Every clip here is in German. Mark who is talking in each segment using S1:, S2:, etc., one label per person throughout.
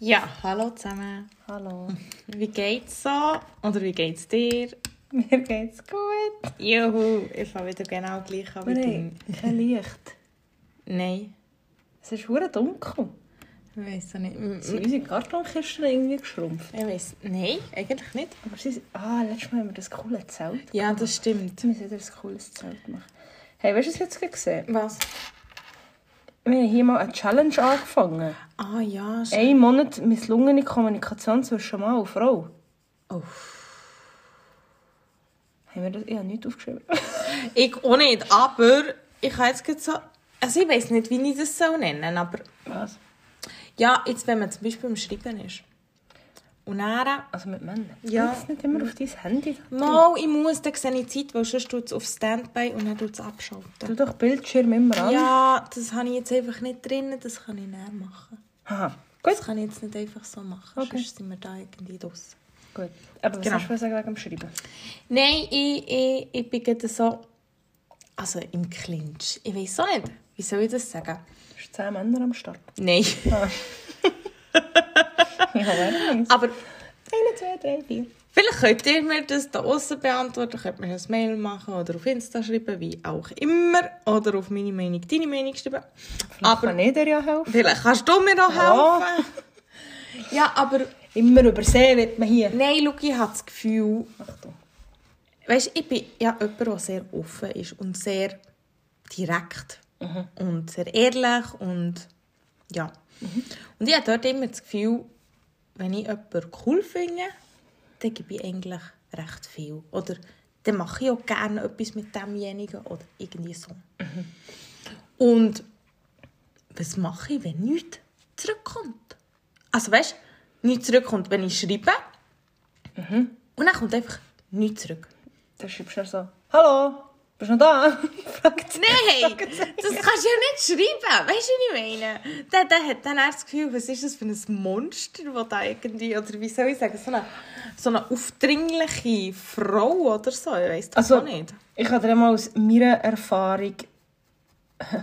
S1: Ja, hallo zusammen.
S2: Hallo.
S1: Wie geht's so? Oder wie geht's dir?
S2: Mir geht's gut.
S1: Juhu, ich fange wieder genau gleich an wie
S2: Wir haben
S1: du.
S2: kein Licht.
S1: Nein,
S2: Es ist hure dunkel.
S1: ich weiß nicht. M- m-
S2: Sind unsere Kartonkisten irgendwie geschrumpft?
S1: Ich weiss, nein, eigentlich nicht.
S2: Aber sie sind... Ah, letztes Mal haben wir das coole Zelt.
S1: Ja, das stimmt.
S2: Jetzt müssen wir wieder ein cooles Zelt machen. Hey, weißt du, was ich jetzt gerade gesehen
S1: Was?
S2: habe? Wir haben hier mal eine Challenge angefangen.
S1: Ah ja, sch-
S2: Ein Monat misslungene Kommunikation zwischen Mann und Frau.
S1: Oh.
S2: Haben wir das? Ich habe nichts aufgeschrieben.
S1: Äh, ich auch nicht, aber ich habe jetzt gerade so... Also ich weiß nicht, wie ich das so nennen aber...
S2: Was?
S1: Ja, jetzt wenn man zum Beispiel am Schreiben ist. Und dann...
S2: Also mit Männern.
S1: Ja.
S2: Geht Das nicht immer auf dein Handy.
S1: Mal, ich muss, dann sehe ich die Zeit, weil sonst tut es auf Standby und dann tut es abschalten.
S2: Tu doch Bildschirm immer an.
S1: Ja, das habe ich jetzt einfach nicht drin, das kann ich näher machen.
S2: Aha. Gut.
S1: Das kann ich jetzt nicht einfach so machen,
S2: Okay.
S1: sonst sind wir da irgendwie draussen.
S2: Gut. Aber was
S1: Genau.
S2: hast du sagen wegen dem Schreiben?
S1: Nein, ich, ich, ich bin gerade so... Also im Clinch. Ich weiß auch nicht, wie soll ich das sagen?
S2: Hast du zehn Männer am Start?
S1: Nein.
S2: Ja, warum?
S1: Aber
S2: Eine, zwei, drei, vier.
S1: vielleicht könnt ihr mir das da außen beantworten, könnt mir ein Mail machen oder auf Insta schreiben, wie auch immer. Oder auf meine Meinung, deine Meinung schreiben.
S2: Aber
S1: Aber
S2: kann ich dir ja helfen.
S1: vielleicht kannst du mir noch
S2: Ja.
S1: helfen. Ja, aber...
S2: Immer übersehen wird man hier.
S1: Nein, schau, ich habe das Gefühl...
S2: Achtung.
S1: Weißt ich bin ja jemand, der sehr offen ist und sehr direkt und sehr ehrlich und ja. Und ich habe dort immer das Gefühl, wenn ich jemanden cool finde, dann gebe ich eigentlich recht viel. Oder dann mache ich auch gerne etwas mit demjenigen oder irgendwie so. Und was mache ich, wenn nichts zurückkommt? Also weißt du, nichts zurückkommt, wenn ich schreibe und dann kommt einfach nichts zurück.
S2: Dann schreibst du dann so, «Hallo, bist du noch da?» Fragt sie.
S1: Nein, das kannst du ja nicht schreiben. Weißt du, was ich meine? Der, der hat dann erst das Gefühl, was ist das für ein Monster, das da irgendwie, oder wie soll ich sagen, so eine, so eine aufdringliche Frau oder so. Ich weiss das
S2: Also,
S1: auch nicht.
S2: ich kann dir mal aus meiner Erfahrung...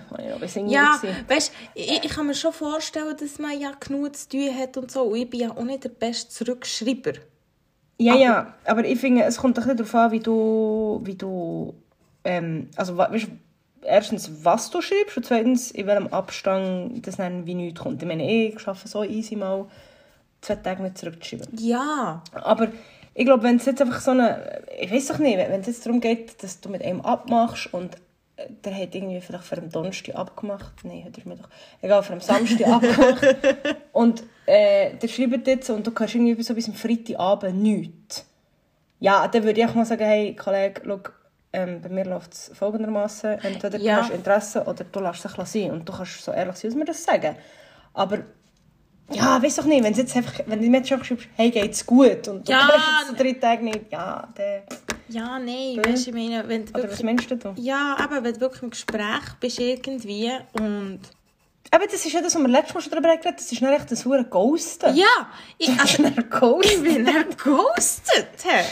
S2: Weil ich noch ein bisschen
S1: Ja,
S2: jünger war.
S1: weißt du, ich, ich kann mir schon vorstellen, dass man ja genug zu tun hat und so. Und ich bin ja auch nicht der beste Zurückschreiber.
S2: Ja, ja, aber ich finde, es kommt doch nicht darauf an, wie du... Wie du ähm, also, wa- weißt, du, erstens, was du schreibst und zweitens, in welchem Abstand das dann wie nichts kommt. Ich meine, ich schaffe so easy mal, zwei Tage nicht zurückzuschreiben.
S1: Ja.
S2: Aber ich glaube, wenn es jetzt einfach so eine. Ich weiß doch nicht, wenn wenn es jetzt darum geht, dass du mit einem abmachst und äh, der hat irgendwie vielleicht für am Donnerstag abgemacht. Nein, hat er mir doch. Egal, für am Samstag abgemacht. Und äh, der schreibt jetzt und du kannst irgendwie so bis am Freitagabend nichts. Ja, dann würde ich mal sagen, hey Kollege, schau, ähm, bei mir läuft es folgendermaßen. Entweder
S1: Ja.
S2: du hast Interesse oder du lässt es ein bisschen sein. Und du kannst so ehrlich sein, als wir das sagen. Aber ja, weiß doch nicht, wenn du jetzt einfach, wenn du mir jetzt einfach schreibst, hey, geht's gut? Und du
S1: Ja,
S2: kannst jetzt so drei Tage nicht, ja, dann...
S1: Ja, nein, weißt du, ich meine, wenn du
S2: Oder was
S1: wirklich,
S2: meinst du da?
S1: ja, aber wenn du wirklich im Gespräch bist irgendwie und...
S2: Aber das ist ja das, was wir letztes Mal schon darüber geredet haben, das ist nicht nou echt ein hure Ghosten.
S1: Ja, ich,
S2: Das
S1: also,
S2: ist ein Ghost.
S1: Ich bin dann ghostet. hä?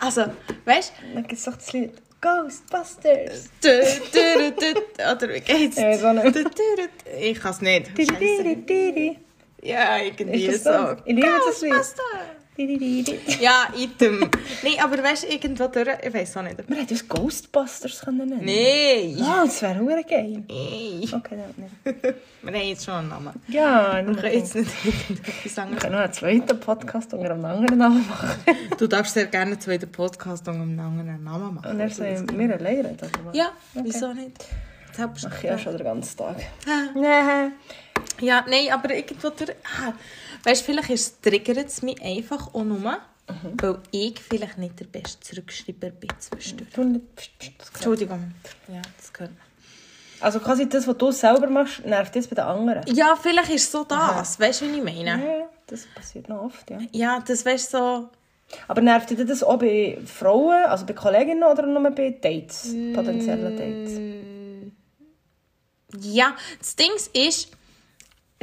S1: Also, weißt
S2: Dann gibt's doch das Lied «Ghostbusters».
S1: du, dü, dü, dü, dü, oder wie geht's?
S2: Ja, so nicht.
S1: Dü, dü, dü, Ich kann es nicht. Scheisse.
S2: Didi, didi,
S1: Ja, irgendwie
S2: Ist
S1: so.
S2: das so? Ich liebe das Lied.
S1: Ghostbuster.
S2: didi, didi.
S1: eh. Ja, item. Nein, aber weißt du, irgendwo durch, ich weiß auch nicht.
S2: Wir hätten uns dus «Ghostbusters» können nennen
S1: Nein.
S2: Ja, das wäre hure geil.
S1: Nein.
S2: Okay, dann nicht.
S1: Wir haben jetzt schon einen Namen.
S2: Ja, nur
S1: Wir können jetzt nicht irgendetwas
S2: Wir
S1: anderes.
S2: können noch einen zweiten Podcast unter einem anderen Namen machen.
S1: Du darfst sehr gerne zu jedem Podcast unter einem anderen Namen machen.
S2: Und dann sind wir alleine. reden, oder was?
S1: Ja, wieso nicht? Das habst du
S2: Ach ja, schon den ganzen Tag.
S1: Ah.
S2: Nee.
S1: Ja, nein, aber irgendwo der... Ah, weißt du, vielleicht ist- triggert es mich einfach auch nur, weil ich vielleicht nicht der beste Zurückschreiber bin zwischendurch.
S2: Du nicht- pst, pst, das gehört.
S1: Entschuldigung. Ja, das gehört mir.
S2: Also quasi das, was du selber machst, nervt jetzt bei den anderen.
S1: Ja, vielleicht ist so das. Weißt du, was ich meine?
S2: Ja, das passiert noch oft, ja.
S1: Ja, das weißt du so...
S2: Aber nervt dich das auch bei Frauen, also bei Kolleginnen oder nur bei Dates,
S1: Mm.
S2: potenziellen Dates?
S1: Ja, das Ding ist,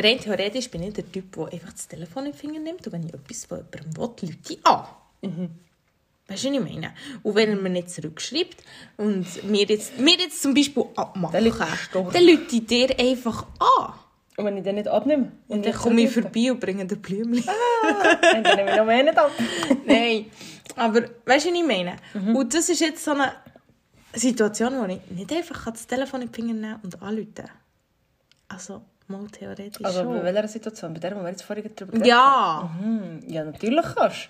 S1: rein theoretisch bin ich der Typ, der einfach das Telefon in den Finger nimmt und wenn ich etwas von jemandem will, Leute ich an. Weißt du, was ich meine? Und wenn er mir nicht zurückschreibt und mir jetzt, mir jetzt zum Beispiel abmachen,
S2: Dann liegst du.
S1: dann lüte ich dir einfach an.
S2: Und wenn ich den nicht abnehme?
S1: Und dann komme ich vorbei und bringe dir Blümchen.
S2: Dann nehme ich noch mehr nicht ab.
S1: Nein, aber weißt du, was ich meine? Und das ist jetzt so eine Situation, wo ich nicht einfach das Telefon in die Finger nehmen und anrufen Also, mal theoretisch
S2: Aber Also bei
S1: schon.
S2: welcher Situation? Bei der, wo wir jetzt vorhin drüber geredet
S1: Ja.
S2: haben? Ja, natürlich kannst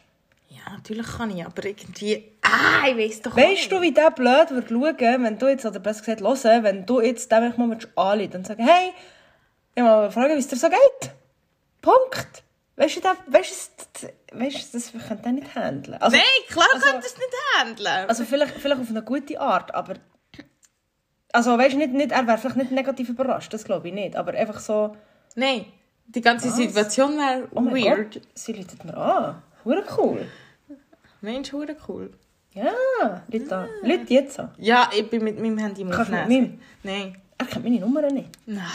S2: du.
S1: ja, natürlich kann ich, aber irgendwie... Ah, ich weiss doch
S2: Weißt du, wie der blöd wird schauen, wenn du jetzt, oder besser gesagt, hören, wenn du jetzt dem einfach mal würdest anrufen und sagen, hey, ich mal fragen, wie es dir so geht. Punkt. Weißt du, der, weißt du, weißt du das wir können das nicht handeln. Also,
S1: Nein, klar
S2: Also-
S1: könnt ihr es nicht handeln.
S2: also vielleicht, vielleicht auf eine gute Art, aber. Also, weißt du, nicht, nicht, er wäre vielleicht nicht negativ überrascht, das glaube ich nicht. Aber einfach so,
S1: Nein, die ganze Situation wäre
S2: oh mein
S1: weird.
S2: Gott, sie läutet mir an. Hure cool.
S1: Mensch, hure cool.
S2: Ja, Leute
S1: Ah.
S2: an. Leute jetzt an.
S1: Ja, ich bin mit meinem Handy im
S2: Kannst du mit
S1: Aufnehmen. Nein.
S2: Er kennt meine Nummer nicht.
S1: Na.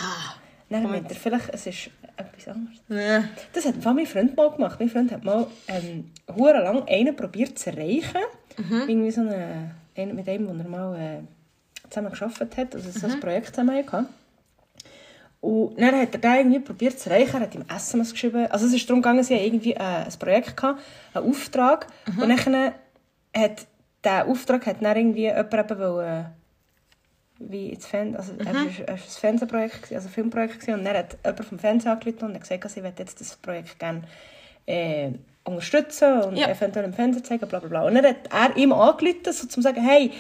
S2: Dann meint er vielleicht, es ist etwas anderes.
S1: Nee.
S2: Das hat vor allem mein Freund mal gemacht. Mein Freund hat mal ähm, hure lang einen probiert zu erreichen. Irgendwie so einen, einen mit einem, wo er mal äh, zusammen gearbeitet hat. Also so ein Projekt zusammen hatte. Und dann hat er den irgendwie probiert zu erreichen. Er hat ihm SMS geschrieben. Also es ist darum gegangen, sie hatten irgendwie äh, ein Projekt, gehabt, einen Auftrag. Und dann hat der Auftrag hat dann irgendwie jemand eben wollen, wie ins Fernsehen, also es war es war ein Fernsehprojekt, gewesen, also ein Filmprojekt gewesen, und dann hat jemand vom Fernsehen angerufen und hat gesagt, sie möchte jetzt das Projekt gerne äh, unterstützen und
S1: Ja.
S2: eventuell im Fernsehen zeigen, bla bla bla. Und dann hat er ihm angerufen, so zum sagen, hey,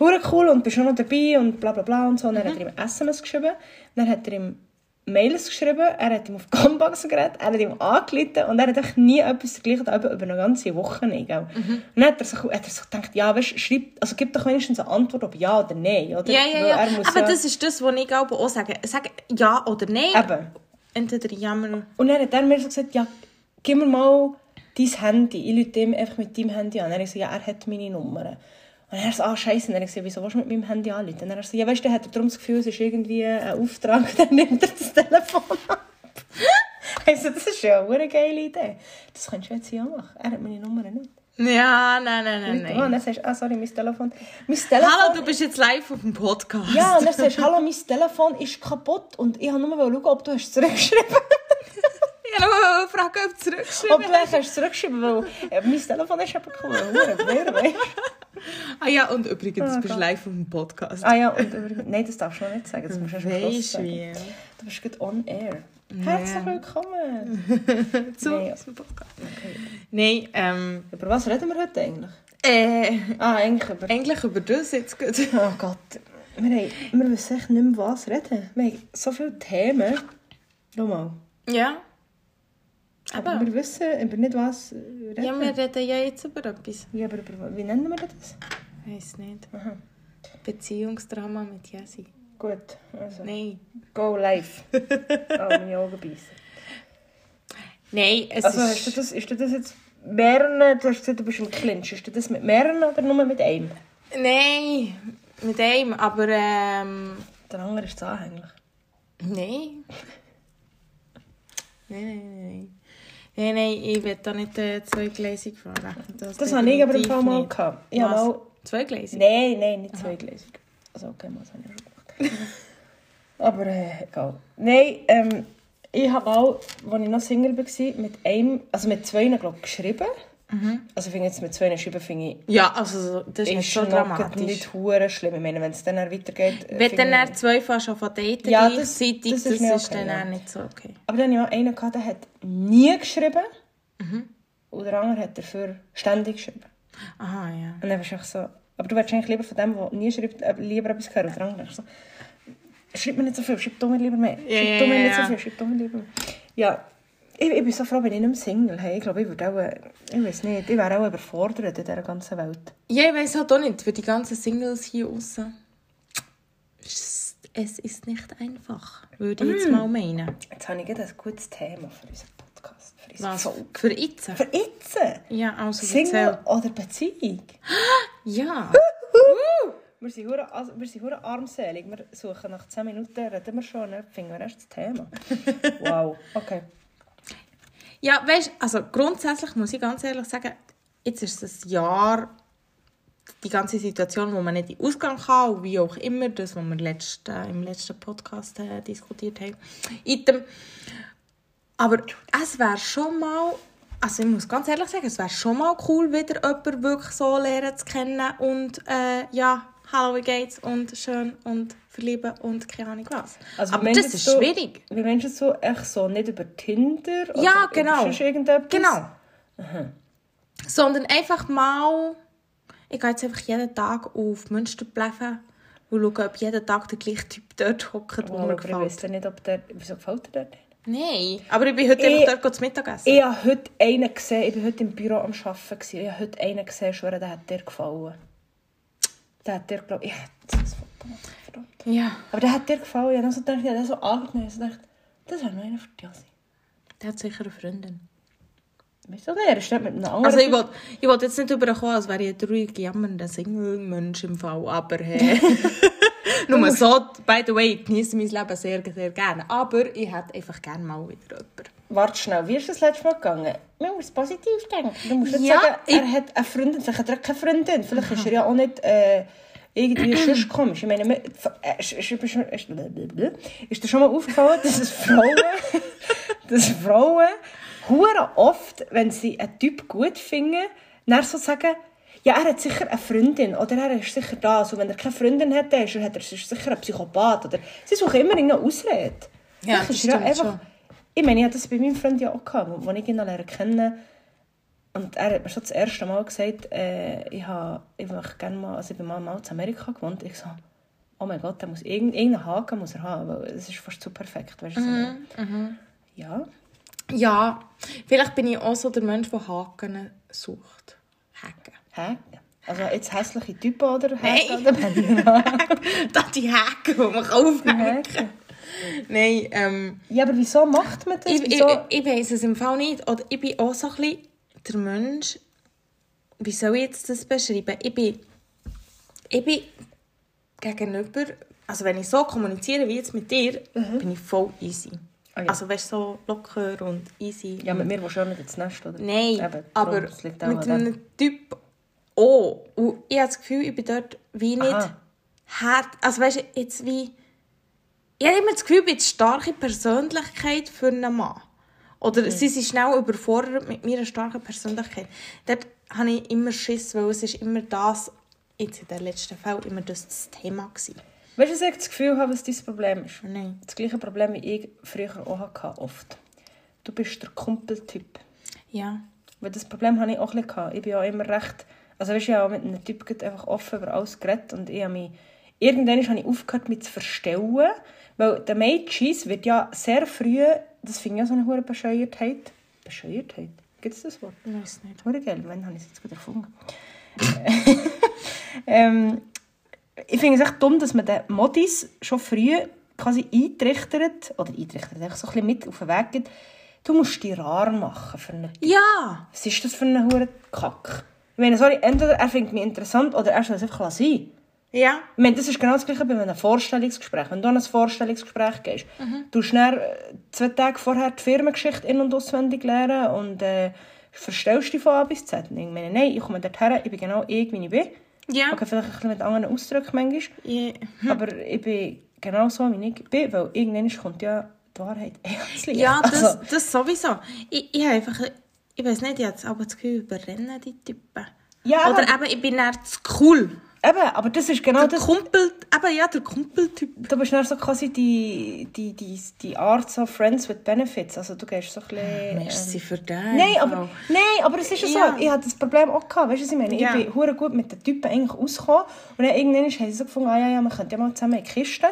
S2: hure cool und bist du noch dabei und bla bla bla und so. Und dann hat er ihm SMS geschrieben, dann hat er ihm Mails geschrieben, er hat ihm auf die Combox geredet, er hat ihm angerufen und er hat einfach nie etwas dergleichen aber über eine ganze Woche nicht. gell? Und dann hat er, sich, hat er sich gedacht, ja, weißt, schreib, also gib doch wenigstens eine Antwort, ob ja oder nein, oder?
S1: Ja, ja, Ah, dus
S2: Weil
S1: ja.
S2: Er muss
S1: Aber
S2: ja
S1: das ist das, was ich glaube auch sage. Sag ja oder nein.
S2: Eben.
S1: Entweder jammer.
S2: Und dann hat er mir so gesagt, ja, gib mir mal dein Handy. Ich rufe ihm einfach mit deinem Handy an. Und er hat gesagt, ja, er hat meine Nummer. Und er so, ah, scheiße. Und er hat gesagt, wieso willst du mit meinem Handy anrufen? Und er so, ja, weißt du, dann hat er darum das Gefühl, es ist irgendwie ein Auftrag. Und dann nimmt er das Telefon ab. Also, das ist ja eine verdammt geile Idee. Das könntest du jetzt hier auch machen. Er hat meine Nummer nicht.
S1: Ja, nein, nein, nein,
S2: Nein. Und
S1: nein.
S2: dann sagst du, ah, sorry, mein Telefon. Mein Telefon
S1: Hallo, du bist jetzt live auf dem Podcast.
S2: Ja, und dann sagst du, hallo, mein Telefon ist kaputt. Und ich wollte nur schauen, ob du es zurückgeschrieben hast.
S1: Ich habe Frage, ob du zurückgeschrieben
S2: Und vielleicht hast du zurückgeschrieben, weil äh, mein Telefon ist eben cool. Wer weißt
S1: Ah ja, und übrigens,
S2: Ah,
S1: bist
S2: Gott.
S1: du live auf dem Podcast.
S2: Ah ja, und übrigens. Nein, das darfst du noch nicht sagen. Das musst du erst am Schluss
S1: Weisst du
S2: sagen.
S1: wie?
S2: Du bist gerade on air. Herzlich willkommen.
S1: Zu
S2: eh? Nee.
S1: zum Podcast. Nein, ähm,
S2: Über was reden wir heute eigentlich?
S1: äh,
S2: Ah, eigentlich über.
S1: eigentlich über das jetzt gut.
S2: Oh Gott. Wir, haben, wir wissen echt nicht mehr, was reden. Wir haben so viele Themen. Schau mal.
S1: Ja.
S2: Aber
S1: Aber,
S2: wir wissen über nicht, was reden.
S1: ja, wir reden ja jetzt über etwas.
S2: eh, Ja, aber über, wie nennen wir das?
S1: Weiß nicht.
S2: Aha.
S1: Beziehungsdrama mit Jesse.
S2: Gut. Also,
S1: Nein.
S2: go live. oh, meine Augen beißen.
S1: Nein, es
S2: Also
S1: ist.
S2: hast du das, ist dir das jetzt mehreren, du hast gesagt, du bist im Clinch, ist dir das mit mehreren oder nur mit einem?
S1: Nein, mit einem, aber ähm.
S2: Der andere ist anhänglich.
S1: Nein. Nein, nein, nein. Nein, nein, ich will da nicht äh, zweigleisig fahren.
S2: Das habe ich aber im
S1: definitiv
S2: Fall mal
S1: nicht.
S2: gehabt. Ich habe
S1: Was?
S2: mal...
S1: Zweigleisig?
S2: Nein, nein, nicht zweigleisig. Also okay, mal, das habe ich schon gemacht. aber äh, egal. Nein, ähm, ich habe mal, als ich noch Single war, mit einem, also mit zwei, glaube ich, geschrieben. Also ich finde jetzt mit zwei schreiben, finde ich,
S1: Ja, also so- Mhm. das ist,
S2: ist
S1: nicht so
S2: schon
S1: dramatisch.
S2: nicht hure schlimm. Ich meine, wenn es dann weitergeht... äh,
S1: Wenn
S2: finde
S1: dann
S2: ich-
S1: er zwei fast schon von daten
S2: Ja, das-
S1: gleichzeitig,
S2: das
S1: das, ist,
S2: ist mir
S1: dann
S2: okay, ja.
S1: auch nicht so okay.
S2: Aber dann hatte ich auch einen, gehabt, der hat nie geschrieben.
S1: Mhm.
S2: Und der andere hat dafür ständig geschrieben.
S1: Aha, ja.
S2: Und dann bist du einfach so... Aber du willst eigentlich lieber von dem, der nie schreibt, äh, lieber etwas hören. Und der andere ist so... Schreib mir nicht so viel, schreib du mir lieber mehr. Schreib
S1: ja,
S2: du mir
S1: ja,
S2: nicht so
S1: ja.
S2: viel, schreib du mir lieber mehr. Ja. Ich, ich bin so froh, bin ich nicht mehr Single. Hey, ich glaube, ich würde auch... äh, Ich weiß nicht, ich wäre auch überfordert in dieser ganzen Welt.
S1: Ja, ich weiss halt auch nicht, für die ganzen Singles hier außen. Es ist nicht einfach, würde ich jetzt mal meinen.
S2: Jetzt habe ich gerade ein gutes Thema für unseren Podcast. Für unsere
S1: Was?
S2: Folge.
S1: Für jetzt?
S2: Für jetzt!
S1: Ja, also
S2: Single
S1: erzähl.
S2: oder Beziehung?
S1: Ja.
S2: Wir sind, hure, also, wir sind hure armselig. Wir suchen nach 10 Minuten, reden wir schon, dann finden wir erst das Thema. wow, okay.
S1: Ja, weißt also grundsätzlich muss ich ganz ehrlich sagen, jetzt ist es ein Jahr die ganze Situation, wo man nicht in den Ausgang kann und wie auch immer, das, was wir letzten, im letzten Podcast äh, diskutiert haben. Item. Aber es wäre schon mal, also ich muss ganz ehrlich sagen, es wäre schon mal cool, wieder jemanden wirklich so lernen zu kennen und äh, ja, hallo, wie geht's und schön und verlieben und keine Ahnung was.
S2: Also,
S1: Aber
S2: meinst
S1: das ist
S2: du-
S1: schwierig.
S2: Wie meinst du so? Echt so, nicht über Tinder? Oder
S1: Ja, genau.
S2: Über sonst irgendetwas?
S1: Genau. Sondern einfach mal, ich gehe jetzt einfach jeden Tag auf Münster bleiben und schaue, ob jeden Tag der gleiche Typ dort hockt, wo
S2: Wow,
S1: mir
S2: aber ich weiss
S1: gefällt.
S2: dann nicht, ob der... Wieso gefällt der dir?
S1: Nein, aber ich bin heute
S2: Ich-
S1: einfach dort zu Mittag essen.
S2: Ich habe heute einen gesehen, ich war heute im Büro am Arbeiten. gewesen. Ich habe heute einen gesehen, schwöre, der hat dir gefallen. Der hat dir, glaube ich... Ja, das Foto gemacht, verdammt.
S1: Ja,
S2: Aber der hat dir gefallen. Ich habe so gedacht, ich habe den so angenommen. Ich habe so gedacht, das wäre noch einer für dich.
S1: der hat sicher eine Freundin.
S2: Weißt du nicht, er ist nicht mit einem anderen...
S1: Also ich wollte ich wollt jetzt nicht überkommen, als wäre ich ein ruhig jammernder Single-Mensch im Fall, aber hey. Nur so, by the way, ich genieße mein Leben sehr, sehr gerne. Aber ich hätte einfach gerne mal wieder jemanden.
S2: Warte schnell, wie ist das letzte Mal gegangen? Man muss positiv denken. Du musst nicht
S1: Ja,
S2: sagen,
S1: ich-
S2: er hat eine Freundin, vielleicht hat er keine Freundin. Vielleicht ist er ja auch nicht äh, irgendwie sonst komisch. Ich meine, mir- äh, ist, ist, ist, ist, ist dir schon mal aufgefallen, dass es Frauen, dass Frauen hure oft, wenn sie einen Typ gut finden, dann so sagen, ja, er hat sicher eine Freundin oder er ist sicher das. Und wenn er keine Freundin hat, dann ist er, hat er ist er sicher ein Psychopath. Oder sie suchen immer irgendeine Ausrede.
S1: Ja,
S2: Vielleicht
S1: das
S2: ist er ja
S1: stimmt schon.
S2: einfach, ich meine, ich hatte das bei meinem Freund ja auch, gehabt, als ich ihn noch lernen kennen Und er hat mir schon das erste Mal gesagt, äh, ich, habe, ich möchte gerne mal, also ich bin mal, mal in Amerika gewohnt. Ich so, oh mein Gott, der muss irgend- irgendeinen Haken muss er haben, weil es ist fast zu perfekt, weißt du.
S1: Mhm,
S2: so. Ja,
S1: Ja, vielleicht bin ich auch so der Mensch, der Haken sucht. Haken.
S2: Haken. Also jetzt hässliche Typen oder
S1: Nein.
S2: oder Berliner?
S1: Das die Haken, die man aufhängen
S2: Haken.
S1: kann. Nein, ähm,
S2: Ja, aber wieso macht man das?
S1: ich, ich,
S2: Wieso?
S1: ich weiß es im Fall nicht. Oder ich bin auch so ein bisschen der Mensch, wie soll ich jetzt das beschreiben? Ich bin, ich bin gegenüber, also wenn ich so kommuniziere wie jetzt mit dir, bin ich voll easy.
S2: Ah ja.
S1: Also weißt du, so locker und easy.
S2: Ja, mit mir willst du auch nicht ins Nest, oder?
S1: Nein,
S2: Eben,
S1: aber
S2: darum, das liegt
S1: mit
S2: auch an dem.
S1: einem Typ auch. Und ich habe das Gefühl, ich bin dort wie nicht
S2: Aha.
S1: hart. Also weißt du, jetzt wie... Ich habe immer das Gefühl, ich bin die starke Persönlichkeit für einen Mann. Oder
S2: Hm.
S1: sie sind schnell überfordert mit meiner starken Persönlichkeit. Dort habe ich immer Schiss, weil es ist immer das, jetzt in der letzten Fälle, immer das, das Thema gewesen.
S2: Weißt du, was ich das Gefühl habe, was dein Problem ist?
S1: Nein.
S2: Das gleiche Problem, wie ich früher auch hatte, oft. Du bist der Kumpeltyp.
S1: Ja.
S2: Weil das Problem hatte ich auch ein bisschen. gehabt. Ich bin ja immer recht... Also weißt du, ich habe mit einem Typ gerade einfach offen über alles geredet und ich habe mich... Irgendwann habe ich aufgehört, mich zu verstellen. Weil der Mädchen wird ja sehr früh... Das finde ich ja so eine hohe Bescheuertheit. Bescheuertheit? Gibt es das Wort?
S1: Ich weiß nicht.
S2: Hure geil, wann habe ich es jetzt gerade erfunden? ähm, ich finde es echt dumm, dass man den Modis schon früh quasi eintrichtert, oder eintrichtert, einfach so ein bisschen mit auf den Weg gibt, du musst dich rar machen für einen
S1: Ja!
S2: was ist das für ein hure Kack? Ich meine, sorry, entweder er findet mich interessant oder er soll es einfach sein.
S1: Ja.
S2: Ich meine, das ist genau das gleiche bei einem Vorstellungsgespräch. Wenn du an ein Vorstellungsgespräch gehst,
S1: Mhm.
S2: du schnell zwei Tage vorher die Firmengeschichte in- und auswendig lernen und äh, verstellst dich von A bis Z. Ich meine, nein, ich komme dorthin, ich bin genau ich, wie ich bin.
S1: Ja. Mhm.
S2: Okay, vielleicht ein bisschen mit anderen Ausdrücken manchmal.
S1: Ja.
S2: Aber ich bin genau so, wie ich bin, weil irgendwann kommt ja die Wahrheit ans Licht.
S1: Ja, das,
S2: Also-
S1: das sowieso. Ich, ich habe einfach, ich weiß nicht, jetzt aber das Gefühl, überrennen die Typen.
S2: Ja,
S1: Oder eben, ich bin dann zu cool.
S2: Eben, aber das ist genau
S1: Der
S2: das.
S1: Kumpel, eben ja, der Kumpeltyp.
S2: Du bist dann so quasi die, die, die, die Art so Friends with Benefits. Also du gehst so ein bisschen...
S1: Ah, Merci für den.
S2: Nein, aber, nein, aber es ist ja so.
S1: Ja.
S2: Ich hatte das Problem auch gehabt. Weißt du, was ich meine?
S1: Ja.
S2: Ich bin hure gut mit den Typen eigentlich ausgekommen. Und dann irgendwann haben sie so gefunden, ah ja, ja, wir könnten ja mal zusammen in die Kiste.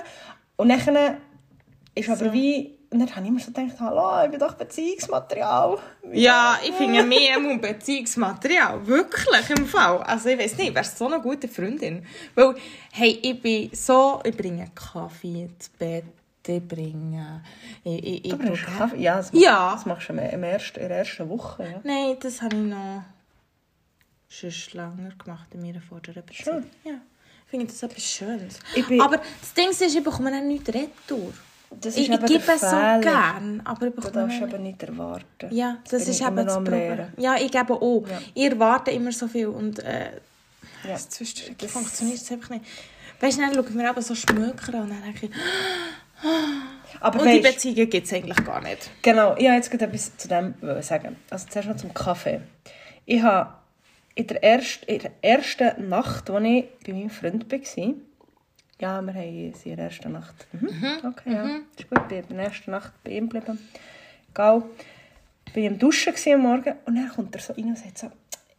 S2: Und dann ist aber wie... Und dann habe ich immer so gedacht, hallo, ich bin doch Beziehungsmaterial.
S1: Ja, ich finde mehr ein Beziehungsmaterial. Wirklich, im Fall. Also ich weiß nicht, wärst so eine gute Freundin. Weil, hey, ich bin so, ich bringe Kaffee ins Bett, ich bringe... Ich, ich, ich
S2: Du bringst
S1: tue-
S2: Kaffee. Ja, das,
S1: Ja.
S2: das machst du im- im ersten, in der ersten Woche. Ja.
S1: Nein, das habe ich noch sonst länger gemacht in meiner vorderen Beziehung. Ja. Ich finde das etwas Schönes.
S2: Ich bin-
S1: Aber das Ding ist, ich bekomme dann nichts retour.
S2: Das ist
S1: ich ich
S2: eben
S1: gebe
S2: der
S1: es so
S2: Fehler.
S1: gern, aber ich
S2: Du
S1: bekomme
S2: darfst
S1: dann
S2: eben nicht erwarten.
S1: Ja, das
S2: bin
S1: ist
S2: ich immer
S1: eben
S2: noch
S1: das
S2: am
S1: Problem.
S2: Lernen.
S1: Ja, ich gebe auch. Ihr wartet immer so viel und äh,
S2: Ja.
S1: Das Zwischenstück
S2: Das-
S1: funktioniert es einfach nicht. Weißt du, dann schauen wir eben so Schmöker an und dann denke ich,
S2: Aber
S1: und die
S2: weißt,
S1: Beziehungen gibt es eigentlich gar nicht.
S2: genau, ich habe jetzt gerade etwas zu dem wollen sagen. Also zuerst noch zum Kaffee. Ich habe in der, erst, in der ersten Nacht, als ich bei meinem Freund war, ja, wir haben sie in der ersten Nacht. Mhm. Okay, ja, ist gut. Ich bin in der ersten Nacht bei ihm geblieben. Egal. Bin ich am Duschen gewesen am Morgen und dann kommt er so rein und sagt so,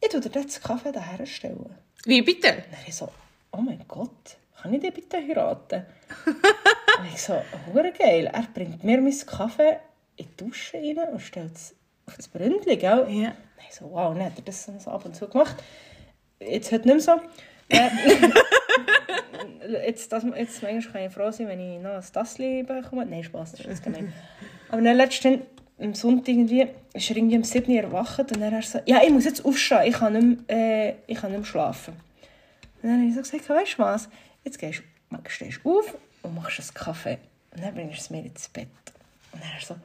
S2: ich tue dir jetzt den Kaffee da herstellen.
S1: Wie bitte?
S2: Und dann ich so, oh mein Gott, kann ich dich bitte heiraten? und ich so, hure geil. Er bringt mir meinen Kaffee in die Dusche rein und stellt es auf das Bründchen, gell?
S1: Ja.
S2: Und ich so, wow, dann hat er das so ab und zu gemacht. Jetzt heute nicht mehr so. Äh, jetzt, das, jetzt manchmal kann ich froh sein, wenn ich noch ein Tassli bekomme. Nein, Spaß, das ist jetzt gemein. Aber dann letztens, am Sonntag irgendwie, ist er irgendwie um 7 Uhr erwacht und dann hat er so, ja, ich muss jetzt aufstehen, ich kann nicht mehr, äh, ich kann nicht mehr schlafen. Und dann habe ich so gesagt, weißt du was, jetzt gehst, du- stehst du auf und machst einen Kaffee. Und dann bringst du es mir ins Bett. Und dann er so,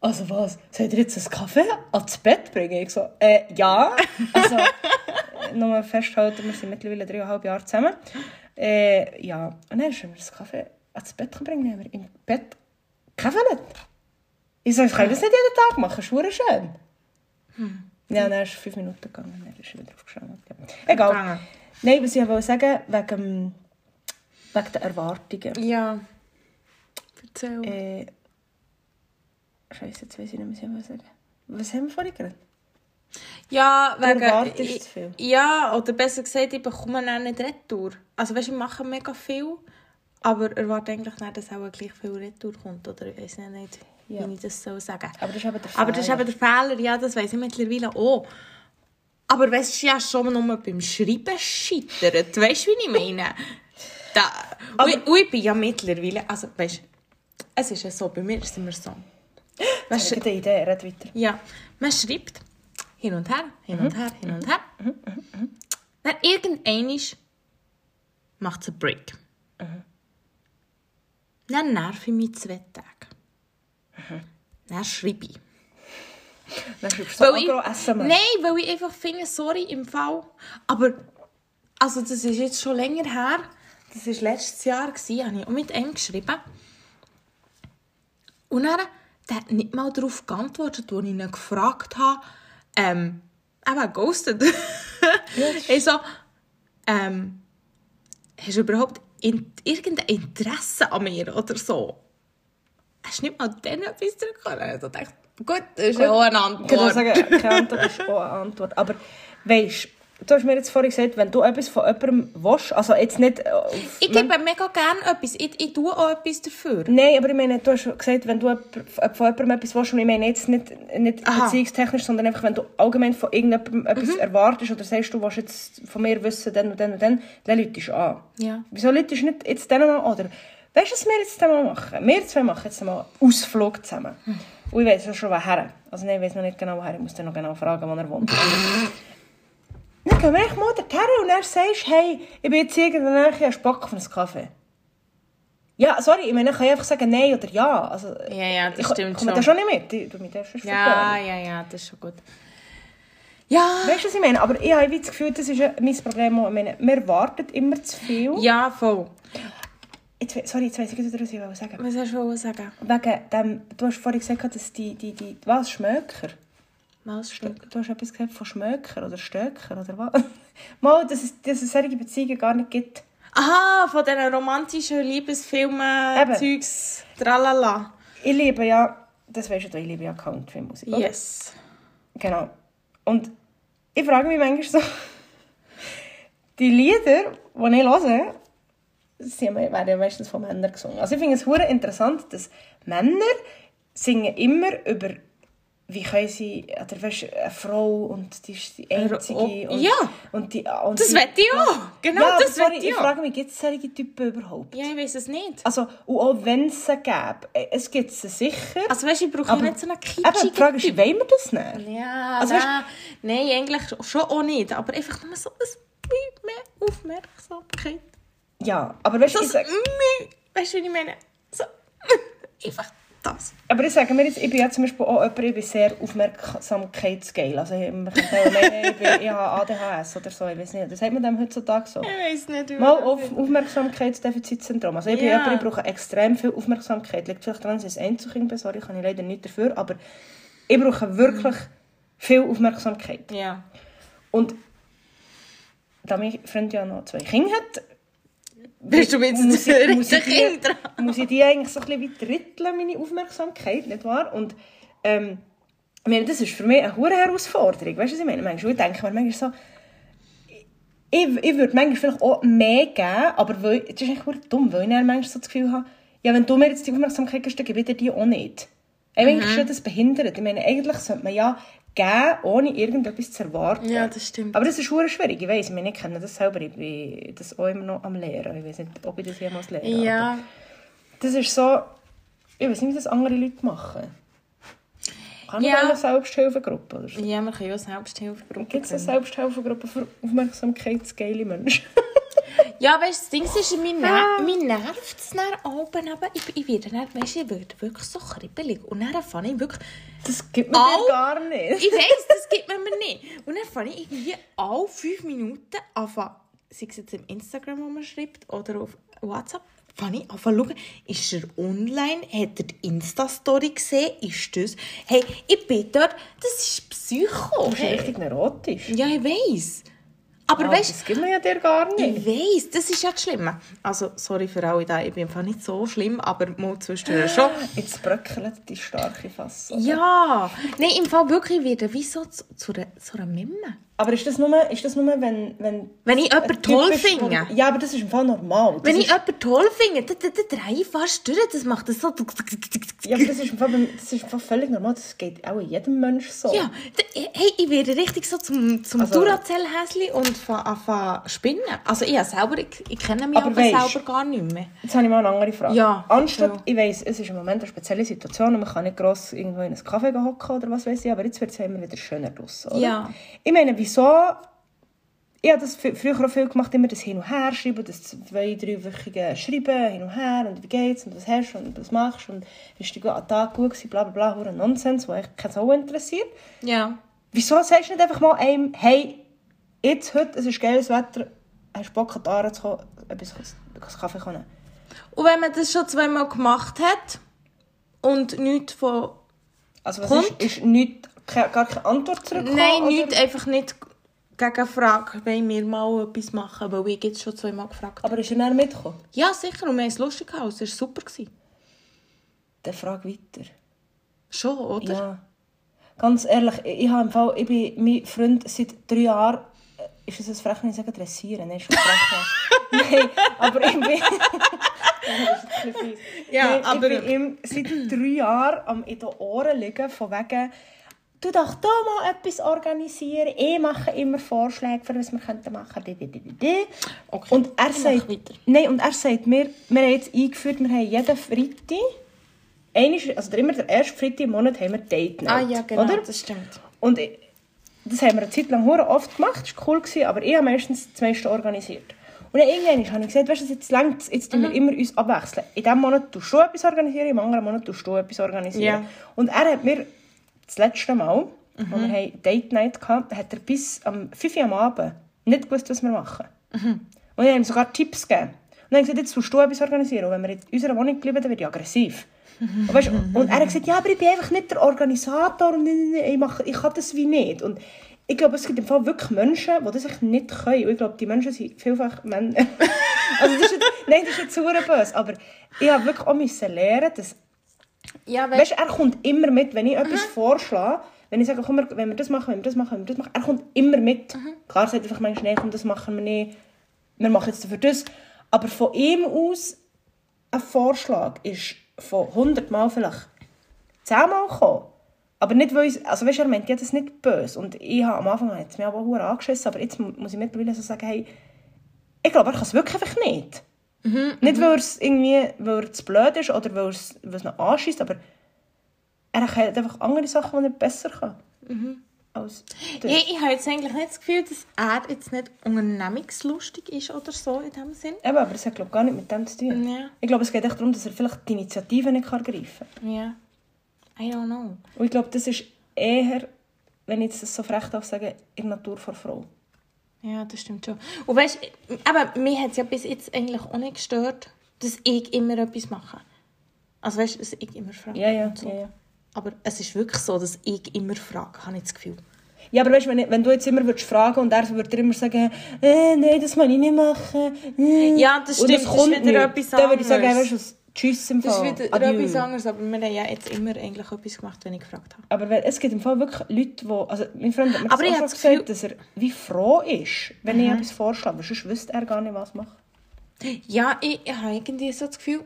S2: also was, soll ich dir jetzt einen Kaffee ans Bett bringen? Ich so, äh, ja. Also, äh, nochmal festhalten, wir sind mittlerweile dreieinhalb Jahre zusammen. Äh, ja. Und dann ist er mir das Kaffee ans Bett bringen, dann haben wir im Bett gekämpft. Ich so, ich kann das nicht jeden Tag machen, ist verdammt schön. Ja, dann ist es fünf Minuten gegangen, dann ist er wieder aufgestanden. Ja. Egal.
S1: Gegangen.
S2: Nein, was ich wollte sagen, wegen, dem- wegen der Erwartungen.
S1: Ja. Erzähl.
S2: Äh. Scheiße, jetzt weiß ich nicht mehr, was ich sagen wollte. Was haben wir vorhin geredet?
S1: Ja,
S2: Du
S1: wegen...
S2: erwartest
S1: ich-
S2: zu viel.
S1: Ja, oder besser gesagt, ich bekomme dann nicht retour. Also weißt, ich mache mega viel, aber erwarte eigentlich nicht, dass auch gleich viel retour kommt. Oder ich weiß nicht, wie
S2: Ja.
S1: ich das so sagen
S2: Aber dus das ist eben der
S1: Aber dus das ist eben der Fehler, ja, das weiß ich mittlerweile auch. Aber weißt du, ja schon nur beim Schreiben scheitert. Weißt du, wie ich meine? Da, aber, und, ich- und ich bin ja mittlerweile, also weißt du, es ist ja so, bei mir sind wir so.
S2: Das
S1: Weißt
S2: ist
S1: du,
S2: eine Idee, red weiter.
S1: ja, man schreibt hin und her, hin und her, hin und her. Dann irgendeinmal macht es einen Break. Dann nerv ich mich zwei Tage. Dann schreibe ich.
S2: Dann schreibst du so
S1: Weil ich,
S2: agro SMS.
S1: nein, weil ich einfach finde, sorry, im Fall. Aber, also das ist jetzt schon länger her. Das war letztes Jahr, gewesen, habe ich auch mit ihm geschrieben. Und dann, der hat nicht mal darauf geantwortet, als ich ihn gefragt habe. Ähm, eben, ghosted. ich so, ähm, hast du überhaupt in, irgendein Interesse an mir oder so? Hast du nicht mal dann etwas zurückgekommen? Also dachte ich, gut, das ist ja auch eine Antwort.
S2: Ich würde sagen, keine Antwort ist auch eine Antwort. Aber weißt du, du hast mir jetzt vorhin gesagt, wenn du etwas von jemandem willst, also jetzt nicht... äh, auf-
S1: Ich gebe mega gerne etwas. Ich, ich tue auch etwas dafür.
S2: Nein, aber ich meine, du hast gesagt, wenn du jemand- von jemandem etwas willst, und ich meine jetzt nicht, nicht
S1: Aha. Mhm.
S2: beziehungstechnisch, sondern einfach, wenn du allgemein von irgendjemandem etwas erwartest oder sagst, du willst jetzt von mir wissen, dann und dann und dann, dann läutest du an.
S1: Ja.
S2: Wieso läutest du nicht jetzt dann mal an? Oder weißt du, was wir jetzt dann mal machen? Wir zwei machen jetzt mal einen Ausflug zusammen.
S1: Hm.
S2: Und ich weiß ja schon, woher. Also nein, ich weiß noch nicht genau, woher. Ich muss dann noch genau fragen, wo er wohnt. dann gehen wir echt mal dorthin und dann sagst du, hey, ich bin jetzt irgendwo näher, ich habe Spack auf einen Kaffee. Ja, sorry, ich meine, ich kann ja einfach sagen nein oder ja. Also,
S1: Ja, ja, das
S2: ich,
S1: stimmt
S2: ich komme da schon nicht mit. Ich- Du mich darfst schon
S1: Ja, ja, ja, das ist schon gut. Ja,
S2: Weißt du, was ich meine? Aber ich habe irgendwie das Gefühl, das ist ja mein Problem. auch. Ich meine, wir warten immer zu viel.
S1: ja, voll.
S2: Jetzt, we- sorry, jetzt weiss ich nicht, was ich wollte sagen
S1: Was hast du wollen sagen?
S2: Wegen dem, du hast vorhin gesagt, dass die, die, die, was, Schmöker?
S1: Was stimmt?
S2: Du hast etwas gesagt von Schmöker oder Stöcker oder was? Mal, dass es, dass es solche Beziehungen gar nicht gibt.
S1: Aha, von diesen romantischen Liebesfilmen,
S2: Eben.
S1: Zeugs, eh, tralala.
S2: Ich liebe ja, das weißt du, ich liebe ja Country-Musik. oder?
S1: Yes.
S2: Genau. Und ich frage mich manchmal so, die Lieder, die ich höre, sie werden ja meistens von Männern gesungen. Also ich finde es hure interessant, dass Männer singen immer über wie können sie, oder weißt, eine Frau und die ist die Einzige. Und,
S1: Oh, Ja.
S2: und die, und
S1: Das
S2: die-
S1: wette ich auch. Genau,
S2: ja,
S1: das
S2: sorry,
S1: wette
S2: ich
S1: ich auch.
S2: frage mich, gibt es solche Typen überhaupt?
S1: Ja, ich weiß es nicht.
S2: Also, und auch wenn es sie gäbe, äh, es gibt sie sicher.
S1: Also weißt du, ich brauche ja
S2: aber-
S1: nicht so einen
S2: Aber die Frage
S1: kitschigen
S2: ist, wollen wir das nicht?
S1: Ja, nou.
S2: Also,
S1: nein. nein, eigentlich schon auch nicht. Aber einfach nur so ein bisschen mehr Aufmerksamkeit.
S2: Ja, aber weißt du, ich
S1: Das
S2: sag,
S1: Müh. Weißt du, wie ich meine? So. Einfach das.
S2: Aber ich sage mir jetzt, ich bin ja zum Beispiel auch jemand, ich bin sehr aufmerksamkeitsgeil. Also ich- man könnte auch meinen, ich, bin, ich habe ADHS oder so, ich weiß nicht. Das sagt man dem heutzutage so.
S1: Ich weiß nicht, wie
S2: Mal auf Aufmerksamkeitsdefizitsyndrom. Also ich bin
S1: Ja.
S2: jemand, ich brauche extrem viel Aufmerksamkeit. Liegt vielleicht daran, dass ich ein Einzelkind bin, sorry, kann ich leider nicht dafür, aber ich brauche wirklich viel Aufmerksamkeit.
S1: Ja.
S2: Und da mein Freund ja noch zwei Kinder hat,
S1: Bist du jetzt
S2: muss ich, muss ich,
S1: richtig
S2: die,
S1: dran?
S2: muss ich die eigentlich so ein bisschen wie dritteln, meine Aufmerksamkeit, nicht wahr? Und ähm, ich meine, das ist für mich eine hohe Herausforderung, weißt du, was ich meine? Manchmal denke ich mir manchmal so, ich, ich würde manchmal vielleicht auch mehr geben, aber weil, das ist eigentlich verdammt dumm, weil ich dann manchmal so das Gefühl habe, ja, wenn du mir jetzt die Aufmerksamkeit gibst, dann gebe ich dir die auch nicht. Eigentlich ist ja das behindert. Ich meine, eigentlich sollte man ja geben, ohne irgendetwas zu erwarten.
S1: Ja, das stimmt.
S2: Aber das ist hure schwierig, ich weiß, ich meine, ich kenne das selber, ich bin das auch immer noch am Lehren. Ich weiß nicht, ob ich das jemals lehre. aber
S1: Ja.
S2: Das ist so, ich weiß nicht, wie das andere Leute machen. Kann
S1: Ja.
S2: ich auch eine Selbsthilfegruppe oder so?
S1: Ja, wir können ja Selbsthilfegruppen
S2: Gibt es eine
S1: gründen.
S2: Selbsthilfegruppe für aufmerksamkeitsgeile Menschen?
S1: Ja, weißt du, das Ding ist, mir, ner mir nervt es dann oben, aber ich, ich werde dann, weißt du, ich werde wirklich so kribbelig. Und dann fange ich wirklich,
S2: Das gibt mir dir
S1: Au.
S2: gar nicht.
S1: ich weiss, das gibt man mir nicht. Und dann fange ich irgendwie alle fünf Minuten an, sei es jetzt im Instagram, wo man schreibt, oder auf WhatsApp, fange ich an zu schauen, ist er online, hat er die Insta-Story gesehen, ist das... Hey, ich bin dort, das ist Psycho.
S2: Das ist
S1: hey.
S2: richtig neurotisch.
S1: Ja, ich weiss. Aber
S2: Ah,
S1: weißt
S2: das gibt mir ja dir gar nicht.
S1: Ich weiss, das ist ja das Schlimme. Also, sorry für alle da, ich bin einfach nicht so schlimm, aber mal zwischendurch schon.
S2: Jetzt bröckelt die starke Fassung.
S1: Ja, nein, im Fall wirklich wieder, wie so zu, zu, einer- zu einer Mimme.
S2: Aber ist das nur, ist das nur wenn, wenn...
S1: Wenn ich jemanden
S2: ein Typ
S1: toll
S2: ist, wo-
S1: finde.
S2: Ja, aber das ist im Fall normal. Das
S1: Wenn
S2: ist-
S1: ich jemanden toll finde, dann, dann, dann drehe ich fast durch, das macht das so...
S2: Ja, aber das ist, im Fall, das ist im Fall völlig normal. Das geht auch jedem Mensch so.
S1: Ja, d- hey, ich werde richtig so zum, zum
S2: Also-
S1: Duracell-Häschen und fange an zu spinnen. Also ich, habe selber, ich, ich kenne mich
S2: Aber
S1: aber,
S2: weisst-
S1: selber gar nicht mehr.
S2: Jetzt habe ich mal eine andere Frage.
S1: Ja,
S2: Anstatt,
S1: ja.
S2: ich weiss, es ist im Moment eine spezielle Situation und man kann nicht gross irgendwo in einen Kaffee gehen hocken oder was weiß ich, aber jetzt wird es ja immer wieder schöner draussen, oder?
S1: Ja.
S2: Ich meine, wieso... Ich habe das fr- früher auch viel gemacht, immer das Hin- und Herschreiben, das zwei-, dreiwöchige Schreiben, hin und her und wie geht's und was hast du und was machst du und bist du gut an den Tag gut gewesen, bla bla bla, hure Nonsens, wo eigentlich keine Sau interessiert.
S1: Ja.
S2: Wieso sagst du nicht einfach mal einem, hey, jetzt, heute, es ist geiles Wetter, hast du Bock, an die Aare zu kommen, etwas einen Kaffee zu nehmen?
S1: Und wenn man das schon zweimal gemacht hat und nichts von...
S2: Also was
S1: Kommt?
S2: ist, ist nicht, keine, gar keine Antwort zurückgekommen?
S1: Nein,
S2: oder?
S1: nicht, einfach nicht gegen Frage, wenn wir mal etwas machen, weil ich jetzt schon zweimal gefragt habe.
S2: Aber ist er näher mitgekommen?
S1: Ja, sicher, und wir haben es lustig gehabt, es war super. Gewesen.
S2: Dann frag weiter.
S1: Schon, oder?
S2: Ja. Ganz ehrlich, ich, ich habe im Fall, ich bin mein Freund seit drei Jahren, äh, ist das ein Frech, wenn ich sage dressieren? Nein, ist schon frech. Nein, aber ich bin... Ja, das ist ein bisschen fies.
S1: Ja,
S2: Nein,
S1: aber-
S2: Ich bin ihm seit drei Jahren am in den Ohren liegen, von wegen... Du doch da mal etwas organisieren. Ich mache immer Vorschläge, für was wir könnten machen könnten.
S1: Okay,
S2: Und er
S1: ich
S2: sagt...
S1: mache weiter.
S2: Nein, und er sagt mir, wir haben jetzt eingeführt, wir haben jeden Freitag... Einmal, also immer der erste Freitag im Monat haben wir Date Night.
S1: Ah ja, genau,
S2: Oder?
S1: das stimmt.
S2: Und ich, das haben wir eine Zeit lang hure oft gemacht, das war cool, gewesen, aber ich habe meistens das meiste organisiert. Und dann irgendwann habe ich gesagt, weißt du, jetzt längt jetzt
S1: Mhm.
S2: tun wir immer uns abwechseln. In diesem Monat tust du etwas organisieren, im anderen Monat tust du etwas organisieren.
S1: Ja.
S2: Und er hat mir das letzte Mal, mhm. wo wir haben Date Night hatten, hat er bis am 5 Uhr am Abend nicht gewusst, was wir machen.
S1: Mhm.
S2: Und ich habe ihm sogar Tipps gegeben. Und dann habe ich gesagt, jetzt musst du etwas organisieren. Und wenn wir in unserer Wohnung bleiben, dann werde ich aggressiv. Und, weißt, und er hat gesagt, ja, aber ich bin einfach nicht der Organisator nee, und nein, nein, nein, ich, mache, ich kann das wie nicht. Und ich glaube, es gibt im Fall wirklich Menschen, die das echt nicht können. Und ich glaube, die Menschen sind vielfach Männer. also das ist jetzt, nein, das ist jetzt super böse. Aber ich habe wirklich auch müssen lernen, dass
S1: Ja,
S2: Weißt du, er kommt immer mit, wenn ich etwas vorschlage. Wenn ich sage, komm, wir- wenn wir das machen, wenn wir das machen, wenn wir das machen, er kommt immer mit. Klar, sagt einfach manchmal, nein, komm, das machen wir nicht. Wir machen jetzt dafür das. Aber von ihm aus, ein Vorschlag ist von 100 Mal vielleicht 10 Mal gekommen. Aber nicht, weil ich, also weißt du, er meint, ja, das ist nicht böse. Und ich habe am Anfang, hat es mich aber auch angeschissen, aber jetzt mu- muss ich mittlerweile so sagen, hey, ich glaube, er kann es wirklich einfach nicht.
S1: Mhm,
S2: Nicht, weil er es irgendwie, weil er zu blöd ist oder weil er es,
S1: Mhm.
S2: weil es noch anschießt, aber er hat einfach andere Sachen, die er besser kann. als der-
S1: Nee, ich habe jetzt eigentlich nicht das Gefühl, dass er jetzt nicht unternehmungslustig ist oder so in dem Sinn.
S2: Eben, aber das hat glaube ich, gar nicht mit dem zu tun.
S1: Ja.
S2: Ich glaube, es geht echt darum, dass er vielleicht die Initiative nicht kann ergreifen kann.
S1: Ja. I don't know.
S2: Und ich glaube, das ist eher, wenn ich das so frech darf sagen, in der Natur von Frau.
S1: Ja, das stimmt schon. Und weißt aber mir hat es ja bis jetzt eigentlich auch nicht gestört, dass ich immer etwas mache. Also weißt du, dass ich immer frage.
S2: Ja, ja,
S1: und so.
S2: ja, ja.
S1: Aber es ist wirklich so, dass ich immer frage, habe ich das Gefühl.
S2: Ja, aber weißt, du, wenn, wenn du jetzt immer würdest fragen und er würde dir immer sagen, äh, nein, das kann ich nicht machen. äh,
S1: Ja, das
S2: und
S1: stimmt, das ist wieder etwas
S2: Dann würde ich sagen,
S1: anderes.
S2: weißt du, was, tschüss im
S1: Das
S2: Fall.
S1: ist wieder
S2: Oh, Adieu.
S1: etwas anderes, aber wir haben ja jetzt immer eigentlich etwas gemacht, wenn ich gefragt habe.
S2: Aber wenn, es gibt im Fall wirklich Leute, die... Also mein Freund hat mir
S1: Aber ich
S2: das
S1: habe
S2: auch
S1: das
S2: schon
S1: Gefühl- Mhm.
S2: gesagt, dass er wie froh ist, wenn ich etwas vorschlage. weil Sonst wüsste er gar nicht, was machen.
S1: Ja, ich, ich habe irgendwie so das Gefühl,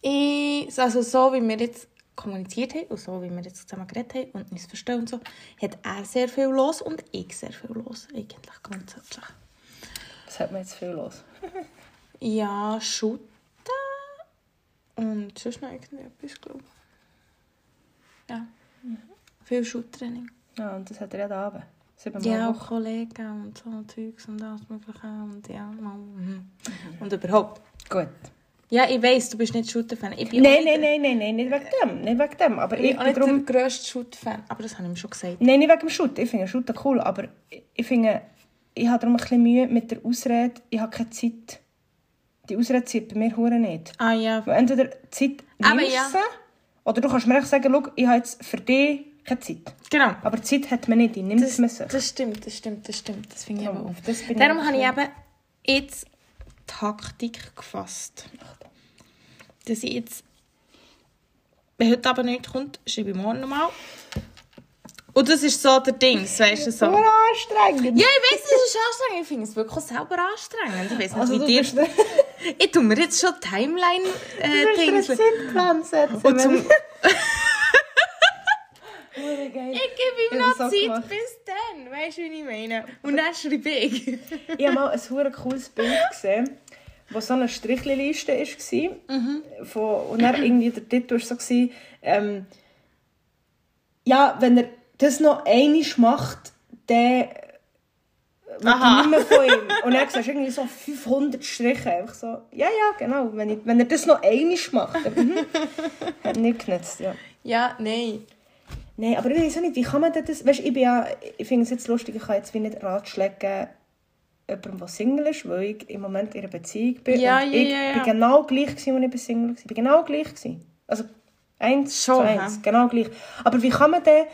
S1: ich, also so wie wir jetzt kommuniziert haben und so wie wir jetzt zusammen geredet haben und uns verstehen und so, hat er sehr viel los und ich sehr viel los, eigentlich grundsätzlich.
S2: Das hat man jetzt viel los.
S1: Ja, Schutten und sonst noch irgendetwas, glaube ich. Ja, Mhm. viel Schutttraining.
S2: Ja, und das hat er ja da oben. Siebenmal
S1: Ja,
S2: ja.
S1: auch Kollegen und so Zeugs und alles Mögliche und ja, mal, mhm. und überhaupt.
S2: Gut.
S1: Ja, ich weiss, du bist nicht Shooter-Fan. Ich bin
S2: Nein, nein, nein, nein, nein, nicht wegen dem. Nicht wegen dem. Aber
S1: Ich
S2: ich
S1: bin auch
S2: bin
S1: nicht
S2: drum...
S1: der grösste Shoot-Fan, aber das habe ich ihm schon gesagt.
S2: Nein, nicht wegen dem Schutt. Ich finde Schutt cool, aber ich- ich finde... Ich habe darum ein bisschen Mühe mit der Ausrede, ich habe keine Zeit. Die Ausrede zieht bei mir hure nicht.
S1: Ah ja,
S2: Weil entweder die Zeit
S1: Aber
S2: nimmst
S1: Ah, ja.
S2: sie, oder du kannst mir echt sagen, schau, ich habe jetzt für dich keine Zeit.
S1: genau.
S2: Aber Zeit hat man nicht, die nimmt
S1: Das,
S2: man sich.
S1: das stimmt, das stimmt, das stimmt. Das finde ich
S2: Ja,
S1: aber auch.
S2: auf das bin ich
S1: Darum
S2: auch
S1: habe ich eben jetzt Taktik gefasst. Dass ich jetzt, wenn heute aber nicht kommt, schreibe ich morgen nochmal. Und das ist so der Dings, weißt du, so.
S2: Aber anstrengend.
S1: Ja, ich weiß, es ist anstrengend. Ich finde es wirklich selber anstrengend. Ich weiß nicht,
S2: Also
S1: wie
S2: du
S1: dir...
S2: bist der,
S1: Ich tue mir jetzt schon äh, Timeline-Dings...
S2: der Zeitplan setzen.
S1: und zum...
S2: Hure geil.
S1: Ich gebe ihm
S2: Ich hab
S1: noch
S2: das auch
S1: Zeit
S2: gemacht.
S1: bis dann. Weißt du, wie ich meine? Und dann schreibe ich.
S2: Ich habe mal ein hure cooles Bild gesehen, wo so eine Strichliste war. Von, und dann irgendwie der Titel war so, gewesen, ähm, ja, wenn er das noch einmal macht, dann
S1: Aha.
S2: Aha. nicht mehr von ihm. Und dann sagst du irgendwie so 500 Striche. Einfach so, ja, ja, genau. Wenn, ich, wenn er das noch einmal macht, dann mhm. hat nicht genutzt, ja.
S1: Ja, nein.
S2: Nein, aber ich weiß auch nicht, wie kann man denn das... Weißt, ich bin ja... Ich finde es jetzt lustig, ich kann jetzt wie nicht Ratschläge geben jemandem, der Single ist, weil ich im Moment in einer Beziehung bin.
S1: Ja,
S2: und
S1: ja,
S2: ich
S1: ja, ja.
S2: bin genau gleich, gewesen, als ich bei Single war. Ich bin genau gleich. Gewesen. Also eins
S1: Schon,
S2: zu
S1: hä?
S2: eins, genau gleich. Aber wie kann man denn...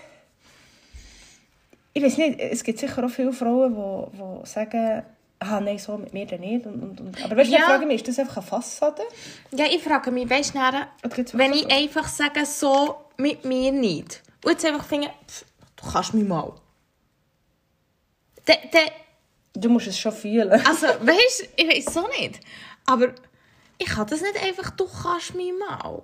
S2: Ich weiß nicht, es gibt sicher auch viele Frauen, die, die sagen... Ah, nein, so mit mir dann nicht. Und, und, und. Aber weißt du,
S1: Ja.
S2: ich frage mich, ist das einfach eine Fassade?
S1: Ja, ich frage mich, weißt du, nachher,
S2: Oder gibt's
S1: wenn
S2: wirklich
S1: ich einfach sage, so mit mir nicht. Und jetzt einfach finde, pff, du kannst mich mal. Dann- dann-
S2: Du musst es schon fühlen.
S1: also, weißt du, ich weiß es auch nicht. Aber ich kann das nicht einfach, du kannst mich mal.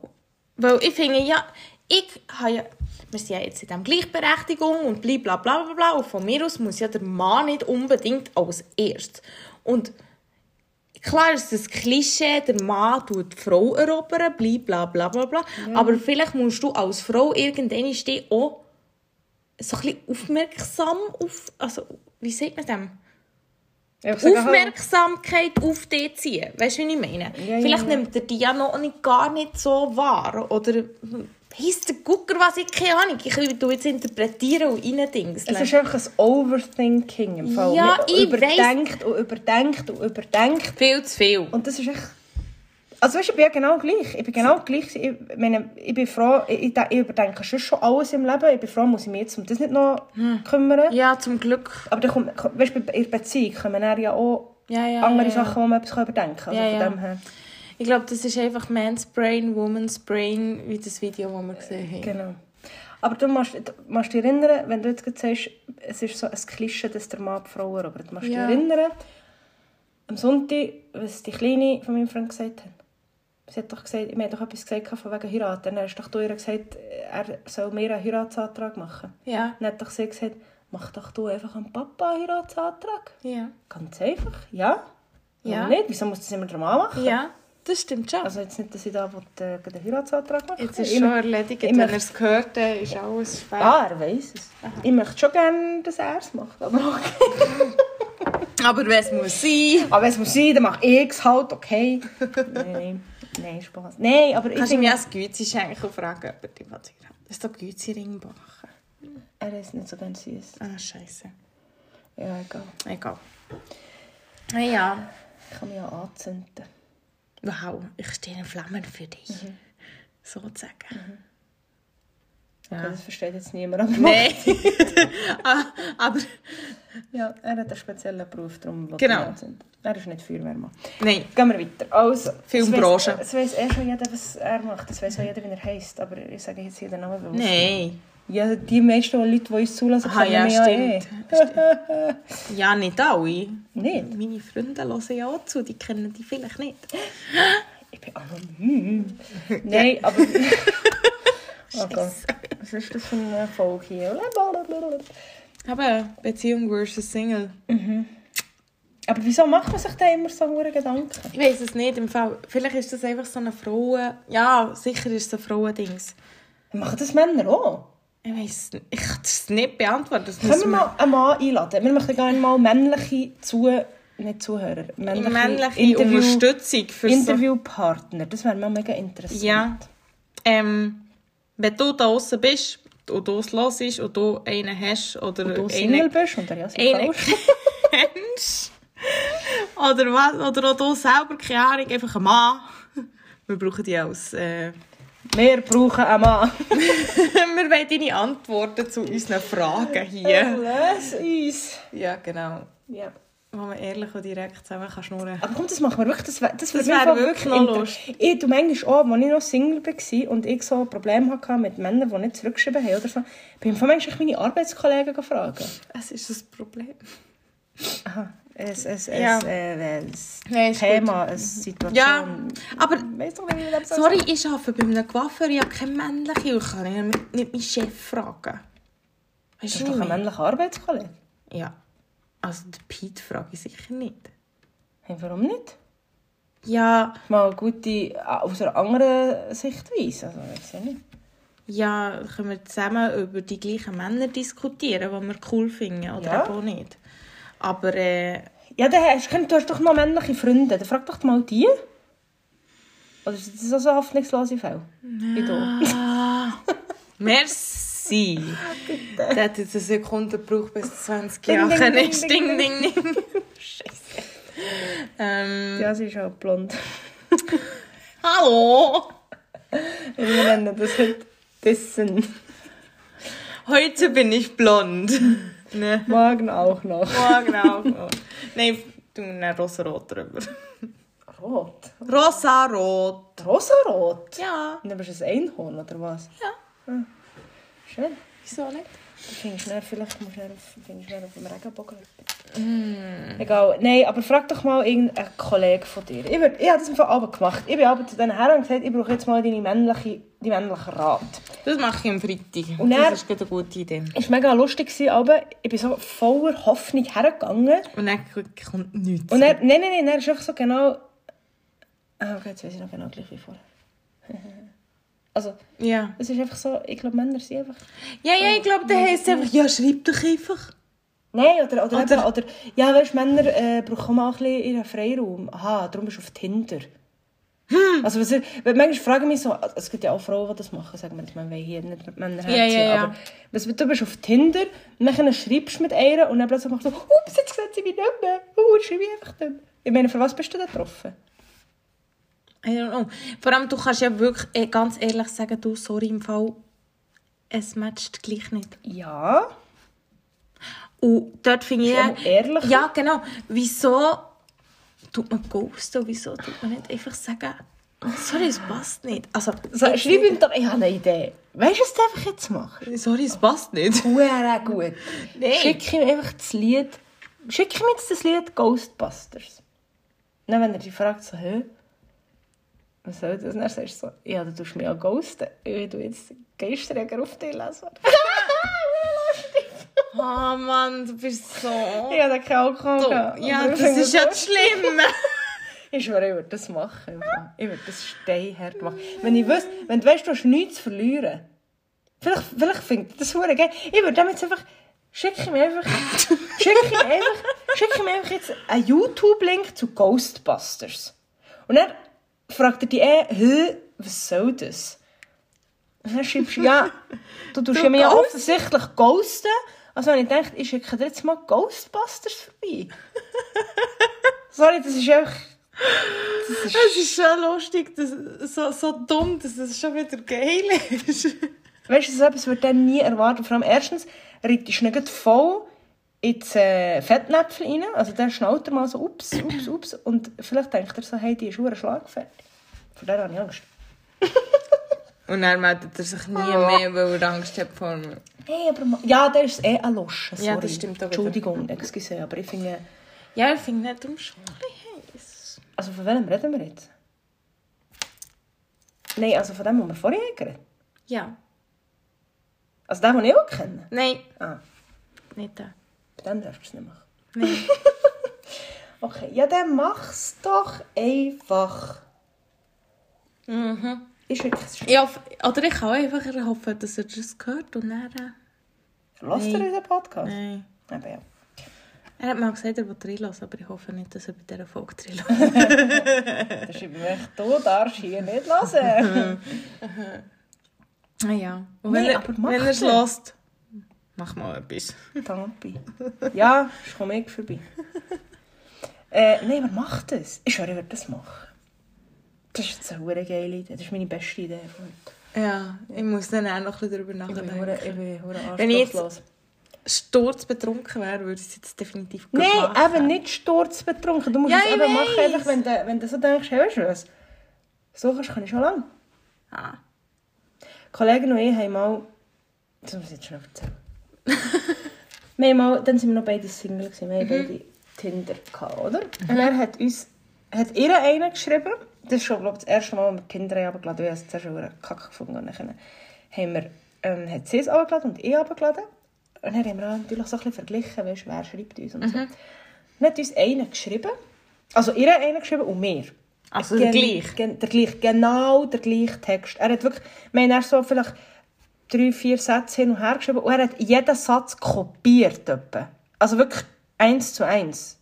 S1: Weil ich finde, ja, ich habe ja, wir sind ja jetzt in dem Gleichberechtigung und bla bla bla bla bla. Und von mir aus muss ja der Mann nicht unbedingt als erstes. Und klar ist das Klischee, der Mann tut die Frau erobern, bla bla bla bla bla. Aber vielleicht musst du als Frau irgendwann dich auch so ein bisschen aufmerksam auf, also, wie sagt man dem?
S2: Ich sage, hallo.
S1: Aufmerksamkeit auf dich ziehen. Weißt du, wie ich meine?
S2: Ja, ja,
S1: Vielleicht
S2: ja.
S1: nimmt er die ja noch nicht, gar nicht so wahr. Oder heisst der Gucker, was ich keine Ahnung. Ich will jetzt interpretieren und reindingseln.
S2: Es ist einfach ein Overthinking im Fall.
S1: Ja,
S2: Man
S1: ich
S2: überdenkt und überdenkt und überdenkt.
S1: viel zu viel.
S2: Und das ist echt. Also weißt, du, ich bin ja genau gleich. Ich bin genau gleich. Ich, meine, ich bin froh, ich, ich, ich überdenke schon, schon alles im Leben. Ich bin froh, muss ich mich jetzt um das nicht noch kümmern.
S1: Hm. Ja, zum Glück.
S2: Aber dann kommt, kommt- weißt, du, bei- in der Beziehung kommen dann ja auch
S1: Ja, ja,
S2: andere
S1: ja, ja.
S2: Sachen, wo man etwas überdenken kann. Also
S1: Ja, ja.
S2: von dem her.
S1: Ich glaube, das ist einfach Man's Brain, Woman's Brain, wie das Video, das wir gesehen haben.
S2: Genau. Aber du musst, du musst dich erinnern, wenn du jetzt gerade sagst, es ist so ein Klischee, dass der Mann die Frau erobert. Du musst
S1: Ja.
S2: dich erinnern, am Sonntag, was die Kleine von meinem Freund gesagt hat. Sie hat doch gesagt, wir haben doch etwas gesagt von wegen Heirat. Dann hast doch du ihr gesagt, er soll mir einen Heiratsantrag machen.
S1: Ja.
S2: Dann hat doch sie gesagt, mach doch du einfach an Papa einen Heiratsantrag.
S1: Ja.
S2: Ganz einfach, ja.
S1: Ja.
S2: Warum nicht? Wieso muss das immer der Mann machen?
S1: Ja. Das stimmt schon.
S2: Also jetzt nicht, dass ich da will, äh, gegen den Heiratsantrag mache.
S1: Jetzt ist
S2: Ich
S1: es schon
S2: möchte-
S1: erledigt.
S2: ich
S1: Wenn er
S2: möchte-
S1: es gehört, dann ist alles fertig.
S2: Ah, er weiss es. Ich möchte schon gerne, dass er es macht. Aber, okay.
S1: Aber wenn es muss sein.
S2: aber es muss sein, dann mache ich es halt, okay. Nein, nein, nein, Spaß. Nein, aber ich
S1: Kannst du mir
S2: finde,
S1: als Güzi schenken und fragen, ob er die Vater hat? Das ist doch Güzi Ringbacher.
S2: er ist nicht so ganz süß.
S1: Ah, scheiße.
S2: Ja, egal.
S1: Egal. Ah ja.
S2: Ich kann mich ja anzünden.
S1: Wow, ich stehe in Flammen für dich. Sozusagen.
S2: Okay, das versteht jetzt niemand. Aber
S1: Nein. Ah, aber
S2: Ja, er hat einen speziellen Beruf, darum will
S1: Genau.
S2: ich ihn anzünden. Er ist nicht Feuerwehrmann.
S1: nein.
S2: Gehen wir weiter. Also,
S1: um Filmbranche.
S2: Es weiß eh schon jeder, was er macht. Es weiß auch jeder, wie er heisst. Aber ich sage jetzt hier den Namen. weil-
S1: Nein.
S2: Ja, die meisten Leute, die uns zulassen,
S1: Ah ja, eh.
S2: mich eh.
S1: stimmt. stimmt. Ja, nicht alle.
S2: Nicht?
S1: Meine Freunde hören ja auch zu, die kennen die vielleicht nicht.
S2: Ich bin anonym. Nein, aber... oh Gott. Was ist das für ein Erfolg hier? Blablabla.
S1: Aber Beziehung versus Single.
S2: Aber wieso macht man sich da immer so hohe Gedanken?
S1: Ich weiß es nicht im Fall. Vielleicht ist das einfach so eine Frauen. Ja, sicher ist es ein Frauendings.
S2: Machen das Männer auch?
S1: Ich weiß ich kann es nicht beantworten. Das
S2: Können
S1: muss
S2: wir
S1: man-
S2: mal einen Mann einladen? Wir möchten gerne mal männliche zu... Nicht Zuhörer. Männliche,
S1: männliche
S2: Interview-
S1: Unterstützung für so.
S2: Interviewpartner. Das wäre mal mega interessant.
S1: Ja. Ähm, wenn du da draußen bist und du es hörst und du einen hast oder
S2: Du Single
S1: einen
S2: bist und der Jasmin
S1: einen
S2: falsch.
S1: kennst oder was oder auch du selber keine Ahnung einfach ein Mann. Wir brauchen die als äh,
S2: Wir brauchen einen Mann.
S1: wir wollen deine Antworten zu unseren Fragen hier.
S2: Lass uns.
S1: Ja, genau.
S2: Ja.
S1: Wo man ehrlich und direkt zusammen kann schnurren
S2: Aber komm, das machen wir wirklich. Das, wär- das,
S1: Das
S2: würde mich
S1: wäre
S2: voll
S1: wirklich noch
S2: inter-
S1: lustig.
S2: Ich, du manchmal auch, als ich noch Single war und ich so Probleme hatte mit Männern, die nicht zurückgeschrieben haben oder so, bin ich von manchmal meine Arbeitskollegen gefragt.
S1: Es ist das Problem.
S2: Aha. Es, es,
S1: Ja.
S2: es, äh, es
S1: Nein, ist Mhm.
S2: Thema, eine Situation.
S1: Ja, aber
S2: Weißt du, wie ich das
S1: sorry, ich arbeite bei einem Coiffeur, ich habe keine männliche und kann nicht, nicht meinen Chef fragen.
S2: Das
S1: Weißt
S2: ist
S1: du
S2: doch ein
S1: nicht? mehr?
S2: männlicher Arbeitskollege.
S1: Ja. Also den Pete frage ich sicher nicht.
S2: Hey, warum nicht?
S1: Ja,
S2: Mal eine gute, äh, aus einer anderen Sichtweise. Also, weiß ich nicht.
S1: ja, können wir zusammen über die gleichen Männer diskutieren, die wir cool finden oder
S2: Ja.
S1: eben auch nicht. Aber äh,
S2: Ja, dann hast, du hast doch noch männliche Freunde. Dann frag doch mal die. Oder ist das auch so hoffnungslose Fälle? Wie du.
S1: Ah, merci. Das hat jetzt eine Sekunde gebraucht bis 20
S2: Ding,
S1: Jahre.
S2: ding,
S1: ist.
S2: ding,
S1: Ding, ding, ding. Scheisse. Ähm,
S2: Ja, sie ist auch blond.
S1: Hallo!
S2: Wir nennen das heute Dissen.
S1: Heute bin ich blond. ne?
S2: Morgen auch noch.
S1: Morgen auch. noch. Nein, du nimmst rosarot drüber.
S2: Rot?
S1: Rosarot.
S2: Rosarot?
S1: Ja.
S2: Und dann bist du ein Einhorn, oder was?
S1: Ja.
S2: Hm. Schön.
S1: Wieso nicht?
S2: Du findest mehr, vielleicht musst du mehr auf, findest mehr auf dem Regenbogen.
S1: Mm,
S2: Egal. Nein, aber frag doch mal irgendeinen Kollegen von dir. Ich, würd, ich habe das im Fall abend gemacht. Ich bin abend zu diesen Herren und gesagt, ich brauche jetzt mal deine männliche, die männlichen Rat.
S1: Das mache ich am Freitag.
S2: Und
S1: das
S2: dann-
S1: ist gerade eine gute Idee.
S2: Es war mega lustig, gewesen, aber ich bin so voller Hoffnung hergegangen.
S1: Und dann kommt nichts.
S2: Und er, nein, nein, nein, er ist einfach so genau... Ah, okay, jetzt weiß ich noch genau gleich wie vorher. also,
S1: ja.
S2: es ist einfach so, ich glaube, Männer sind einfach...
S1: Ja, ja, ich glaube, der heißt einfach, ja, schreib doch einfach.
S2: Nein, oder, oder,
S1: Oder-
S2: eben, oder ja, weißt, Männer äh, brauchen auch mal ein bisschen ihren Freiraum. Aha, darum bist du auf Tinder.
S1: Hm.
S2: Also, was ich, weil manchmal fragen mich so, also, es gibt ja auch Frauen, die das machen, sagen wir jetzt mal, weil hier nicht mit Männern
S1: Ja,
S2: herziehen,
S1: ja, ja.
S2: aber was, du bist auf Tinder, und dann schreibst du mit einer und dann plötzlich machst du so, ups, jetzt sieht sie mich nicht mehr, uh, schreibe ich einfach nicht mehr. Ich meine, für was bist du denn getroffen?
S1: I don't know. Vor allem, du kannst ja wirklich eh, ganz ehrlich sagen, du, sorry, im Fall, es matcht gleich nicht.
S2: Ja,
S1: Und dort finde ich...
S2: Ist auch ehrlich.
S1: Ja, genau. Wieso tut man ghosten und wieso tut man nicht einfach sagen, oh, sorry, es passt nicht. Also,
S2: so, schreib ihm doch, ich habe eine Idee. Weißt du, was du einfach jetzt machst?
S1: sorry, es passt nicht.
S2: Huere gut.
S1: Nein.
S2: Schick ihm einfach das Lied. Schick ihm jetzt das Lied Ghostbusters. Dann, wenn er dich fragt, so, hä? Was soll das? Dann sagst du so, ja, du tust mich ja ghosten. Ich tu jetzt Geisterjäger auf dich lesen.
S1: Oh Mann, du bist so...
S2: ich habe keinen Alkohol.
S1: So,
S2: gehabt.
S1: ja,
S2: Aber ich
S1: das
S2: finde
S1: ist ja das Schlimme.
S2: Ich schwöre, ich würde das machen. im Fall. Ich würde das steinhart machen. Wenn ich wüsste, wenn du weißt, du hast nichts zu verlieren. Vielleicht, vielleicht finde ich das hure geil. Ich würde dem jetzt einfach, schicke ihm einfach, schicke ihm einfach, schicke ihm einfach jetzt einen YouTube-Link zu Ghostbusters. Und dann fragt er dich eh, hä, was soll das? Und dann schreibst du, ja, du tust
S1: Du
S2: ja mir ja
S1: Ghost?
S2: offensichtlich ghosten. Also wenn ich dachte, ich schicke dir jetzt mal Ghostbusters vorbei. Sorry, das ist einfach... Das ist,
S1: Es ist schon lustig, dass, so, so dumm, dass es schon wieder geil ist.
S2: Weißt du, so etwas würde ich nie erwarten. Vor allem erstens reitest du nicht voll ins äh, Fettnäpfel rein. Also dann schnallt er mal so, ups, ups, ups. Und vielleicht denkt er so, hey, die ist verdammt schlagfertig. Von der habe ich Angst.
S1: Und dann meldet er sich nie mehr, weil er Angst hat vor mir.
S2: Hey, aber ma- ja, der ist eh ein Losch. Sorry.
S1: Ja, das stimmt auch wieder.
S2: Entschuldigung, excuse, aber ich finde...
S1: Ja, ich finde nicht um heiß.
S2: Also von welchem reden wir jetzt? Nein, also von dem, was wir vorher geredet haben.
S1: Ja.
S2: Also den, den ich auch kenne.
S1: Nein,
S2: Ah,
S1: nicht da.
S2: bei dem darfst du es nicht machen.
S1: Nein.
S2: Okay, ja, dann mach's doch einfach.
S1: mhm.
S2: Ist wirklich...
S1: Ich hoffe, oder ich kann auch einfach hoffen, dass er das hört und dann... äh,
S2: Lasst ihr unseren Podcast?
S1: Nein.
S2: Aber ja.
S1: Er hat mal gesagt, er will reinlassen, aber ich hoffe nicht, dass er bei dieser Folge reinlässt.
S2: Das ist wirklich, du darfst hier nicht hören.
S1: Ah ja. Und
S2: Nee,
S1: wenn, er,
S2: aber mach
S1: wenn er es
S2: doch.
S1: lässt, mach mal etwas.
S2: Tampi. Ja, ich komme ich vorbei. Äh, nein, aber mach das. Ich schwöre, ich würde das machen. Das ist jetzt eine hure geile Idee. Das ist meine beste Idee von heute.
S1: Ja, ich muss dann auch noch ein bisschen darüber
S2: Ich bin
S1: nachdenken.
S2: hure- ich bin hure
S1: Wenn ich jetzt-
S2: anspruchslos.
S1: sturzbetrunken wäre, würde ich es jetzt definitiv gut
S2: Nein,
S1: machen.
S2: eben nicht sturzbetrunken. Du musst
S1: Ja,
S2: es
S1: ich
S2: eben machen,
S1: weiss.
S2: einfach, wenn, du, wenn du so denkst, hey, weißt du was? So kannst kann ich schon lange.
S1: Ah.
S2: Kollegen und ich haben mal. Das muss ich jetzt schon erzählen. wir haben mal, dann sind wir noch beide Single, gewesen. wir haben beide Tinder gehabt, oder? Und er hat uns, hat ihr einen geschrieben, das ist schon, glaube ich, das erste Mal, wo wir Tinder haben runtergeladen haben, ich habe es zuerst schon einen Kack gefunden und dann haben wir, ähm, hat sie es runtergeladen und ich runtergeladen. Und dann haben wir auch natürlich so ein bisschen verglichen, weißt, wer schreibt uns und so. Dann hat uns einer geschrieben, dus also ihr einen geschrieben und mir.
S1: Also der gleiche?
S2: Gen, der gleiche, genau der gleiche Text. Er hat wirklich, wir haben erst so vielleicht drei, vier Sätze hin und her geschrieben und er hat jeden Satz kopiert. Etwa. Also wirklich eins zu eins.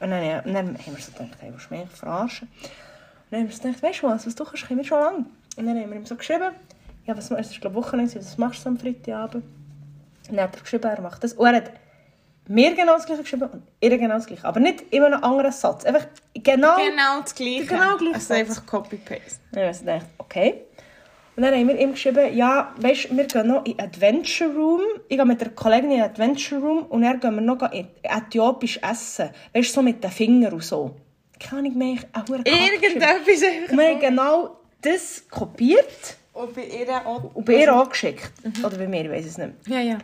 S2: und, dann, ja, und dann haben wir so gedacht, hey, willst du mich verarschen? Und dann haben wir so gedacht, weißt du was, was du kannst, können wir schon lange. Und dann haben wir ihm so geschrieben, ja, was, es ist glaube ich Wochenende, was machst du am Freitagabend? Und dann hat er geschrieben, er macht das. Und er hat mir genau das gleiche geschrieben und ihr genau das gleiche. Aber nicht immer einen anderen Satz. Einfach genau.
S1: Genau das Gleiche.
S2: Genau gleich
S1: Also einfach Copy-Paste.
S2: Dann habe ich gedacht, okay. Und dann haben wir ihm geschrieben, ja, weißt du, wir gehen noch in Adventure Room. Ich gehe mit der Kollegin in Adventure Room und dann gehen wir noch in äthiopisch essen. Weißt du, so mit den Fingern und so. Keine Ahnung mehr, ich habe einen Kack geschrieben.
S1: Irgendetwas
S2: Und
S1: einfach.
S2: wir haben genau das kopiert
S1: Und bei ihr auch.
S2: und bei ihr angeschickt. Oder bei mir, ich weiß es nicht.
S1: Ja, ja.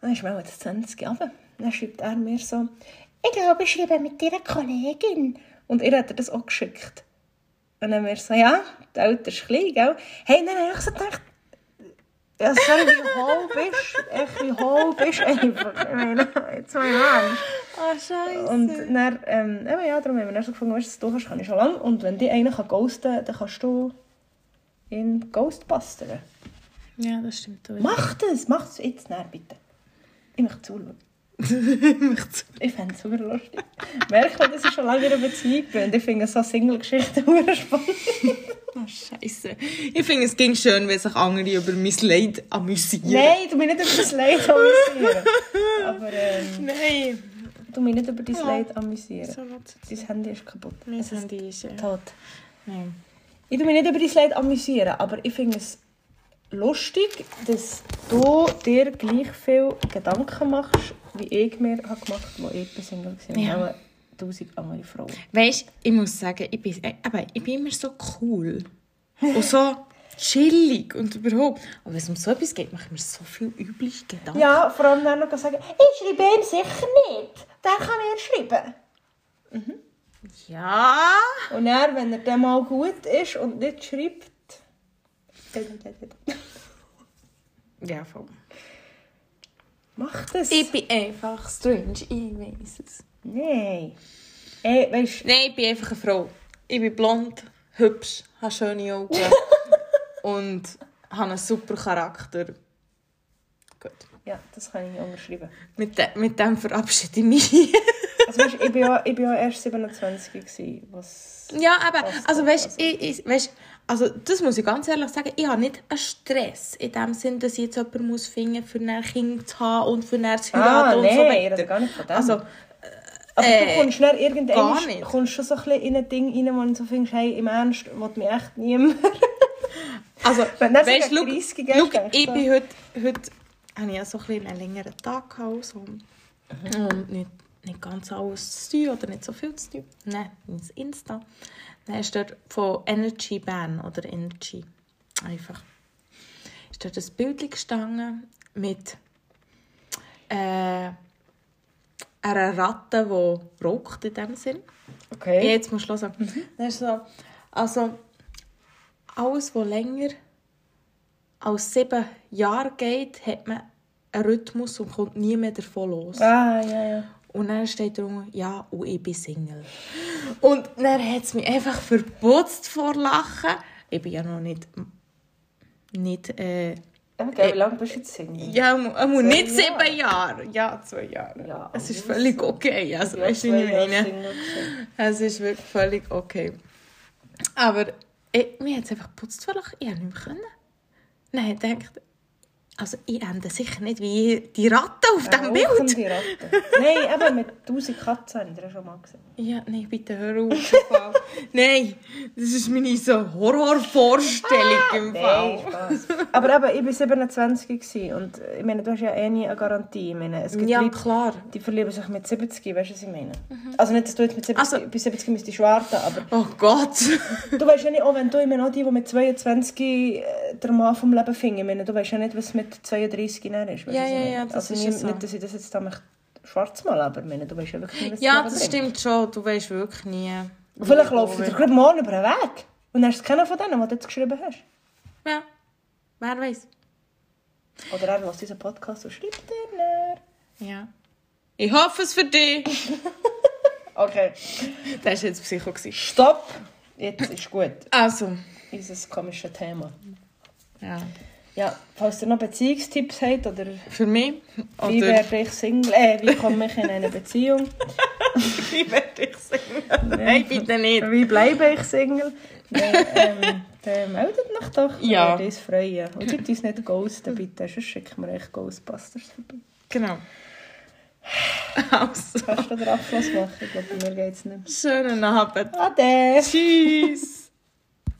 S2: Dann ist mir auch jetzt 20 runter. Dann schreibt er mir so, ich glaube, ich schreibe mit ihrer Kollegin. Und ihr hat er das auch geschickt. Und dann wir so, ja, der Alter ist klein, gell? Hey, dann habe ich so gedacht, ja, sorry, wie hohl bist du? Echt, wie hohl bist du einfach? Ich meine, jetzt mal ernst.
S1: Ah, scheiße.
S2: Und dann, ähm, eben, ja, darum haben wir dann so gefunden, weißt du, du kannst, kann ich schon lange. Und wenn die einen kann ghosten kann, dann kannst du ihn ghostbustern.
S1: Ja, das stimmt. auch.
S2: Mach das, mach das jetzt, dann, bitte. Ich möchte zuschauen.
S1: Ich möchte-
S2: Ich fände es super lustig. Merkt man, dass ich schon lange in einer Beziehung bin. Ich finde so Single-Geschichten super spannend.
S1: Ah, scheiße. Ich finde, es ging schön, wenn sich andere über mein Leid amüsieren.
S2: Nein, du mich nicht über das Leid amüsieren. Aber ähm,
S1: Nein.
S2: du mich nicht über dein
S1: Ja.
S2: Leid amüsieren.
S1: So was.
S2: Dein Handy ist kaputt.
S1: Mein Handy ist ja.
S2: Tot.
S1: Nein.
S2: Ich tu mich nicht über dein Leid amüsieren, aber ich finde es lustig, dass du dir gleich viel Gedanken machst, wie ich mir habe gemacht habe, als ich Single war.
S1: Ja.
S2: Ja. Tausend andere Frauen.
S1: Weißt du, ich muss sagen, ich bin, äh, aber ich bin immer so cool. Und so chillig und überhaupt. Aber wenn es um so etwas geht, mache ich mir so viel übliche Gedanken.
S2: Ja, vor allem dann noch sagen, ich schreibe ihm sicher nicht. Der kann er schreiben.
S1: Ja.
S2: Und er, wenn er dann mal gut ist und nicht schreibt.
S1: Ja, voll.
S2: Mach das.
S1: Ich bin einfach strange, ich weiß es.
S2: Nein. eh, weißt,
S1: Nein, ich bin einfach eine Frau. Ich bin blond, hübsch, habe schöne Augen und habe einen super Charakter. Gut.
S2: ja, das kann ich nicht unterschreiben.
S1: Mit, de mit dem verabschiede ich mich.
S2: Also, weißt, ich war ja, ich bin ja erst 27 gewesen, was...
S1: ja, aber
S2: Das-
S1: also weißt, ich, ich, weißt, also das muss ich ganz ehrlich sagen, ich habe nicht einen Stress in dem Sinn, dass ich jetzt jemanden muss finden muss, für ein Kind zu haben und für ein zu
S2: Ah,
S1: heiraten und
S2: nein,
S1: so
S2: ich rede
S1: weiter.
S2: gar nicht von dem.
S1: Also,
S2: Aber
S1: Äh,
S2: du kommst dann irgendwann
S1: gar nicht.
S2: kommst schon so ein bisschen in ein Ding rein, wo du so findest, hey, im Ernst, will mich echt niemand.
S1: Also,
S2: Wenn du dann so
S1: weißt,
S2: gegen
S1: look,
S2: 30 gehst,
S1: look,
S2: denkst
S1: ich
S2: du-
S1: bin heute, heute habe ich ja so ein bisschen einen längeren Tag gehabt, also, und nicht, nicht ganz alles zu tun oder nicht so viel zu tun. Nein, mein Insta. Dann ist dort von Energy Bern oder Energy, einfach, ist dort ein Bild gestanden mit äh, einer Ratte, die rockt in dem Sinn. Ja,
S2: Okay.
S1: jetzt musst du hören.
S2: Mhm.
S1: Dann ist so, also, alles, was länger als sieben Jahre geht, hat man einen Rhythmus und kommt nie mehr davon los.
S2: Ah, ja, ja.
S1: Und dann steht drunter, ja, und ich bin Single. Und dann hat es mich einfach verputzt vor Lachen. Ich bin ja noch nicht... Nicht, äh...
S2: Okay, wie lange bist du jetzt Single?
S1: Ja, muss nicht
S2: Zwei Jahre.
S1: sieben Jahre. Ja, zwei Jahre.
S2: Ja,
S1: es ist
S2: aber
S1: völlig okay. Also,
S2: Ja,
S1: weißt du,
S2: zwei
S1: wie ich
S2: Jahre
S1: meine?
S2: Single gewesen.
S1: Es ist wirklich völlig okay. Aber ich, mir hat es einfach geputzt vor Lachen. Ich konnte nicht mehr. Können. Dann habe ich gedacht, also ich ende sicher nicht wie die Ratte auf
S2: Ah,
S1: diesem
S2: auch
S1: Bild.
S2: kommt die Ratte. Nein, eben mit 1000 Katzen haben wir schon mal gesehen.
S1: Ja, nein, bitte hör auf. im Fall. nein, das ist meine so Horrorvorstellung im
S2: Nein,
S1: Fall.
S2: Spaß. Aber eben, ich war 27 gewesen und äh, ich meine, du hast ja eh nie eine Garantie. Ich meine, es gibt
S1: Ja,
S2: Leute,
S1: klar.
S2: die verlieben sich mit 70, weißt du, was ich meine? Also nicht, dass du jetzt mit 70,
S1: Also-
S2: bis 70 müsstest warten, aber
S1: Oh Gott.
S2: Du weißt ja nicht, auch wenn du immer noch die, die mit 22 äh, den Mann vom Leben finden, ich meine, du weißt ja nicht, was mit 32 dann ist. weißt du,
S1: Ja,
S2: was ich
S1: ja,
S2: meine?
S1: ja, das
S2: also
S1: ist
S2: nie-
S1: ja so.
S2: Nicht, dass ich das jetzt da möchte schwarz mal, aber ich meine, du weißt ja wirklich nicht, was
S1: ja,
S2: das
S1: das
S2: Leben bringt.
S1: stimmt schon. Du weißt wirklich nie.
S2: Und vielleicht laufen wir gerade morgen über den Weg. Und dann hast du keinen von denen, die du jetzt geschrieben hast.
S1: Ja, wer weiß.
S2: Oder er lässt unseren Podcast und schreibt dir näher.
S1: Ja. Ich hoffe es für dich.
S2: Okay,
S1: Das war jetzt Psycho. gewesen.
S2: stopp! Jetzt ist gut.
S1: Also,
S2: Dieses komische Thema.
S1: ja.
S2: Ja, falls ihr noch Beziehungstipps habt oder
S1: Für mich?
S2: wie
S1: Oder
S2: werde ich Single, äh, wie komme ich in eine Beziehung?
S1: wie werde ich singen? Nein, bitte nicht.
S2: Wie bleibe ich Single? Dann, ähm, dann meldet mich doch. Wir
S1: Ja.
S2: würden uns freuen. Und schickt uns nicht Ghosten, bitte. Sonst schicken wir euch Ghostbusters vorbei.
S1: Genau. Also,
S2: Kannst du den Abschluss machen? Ich glaube, mir geht's nicht.
S1: schönen Abend.
S2: Ade!
S1: Tschüss.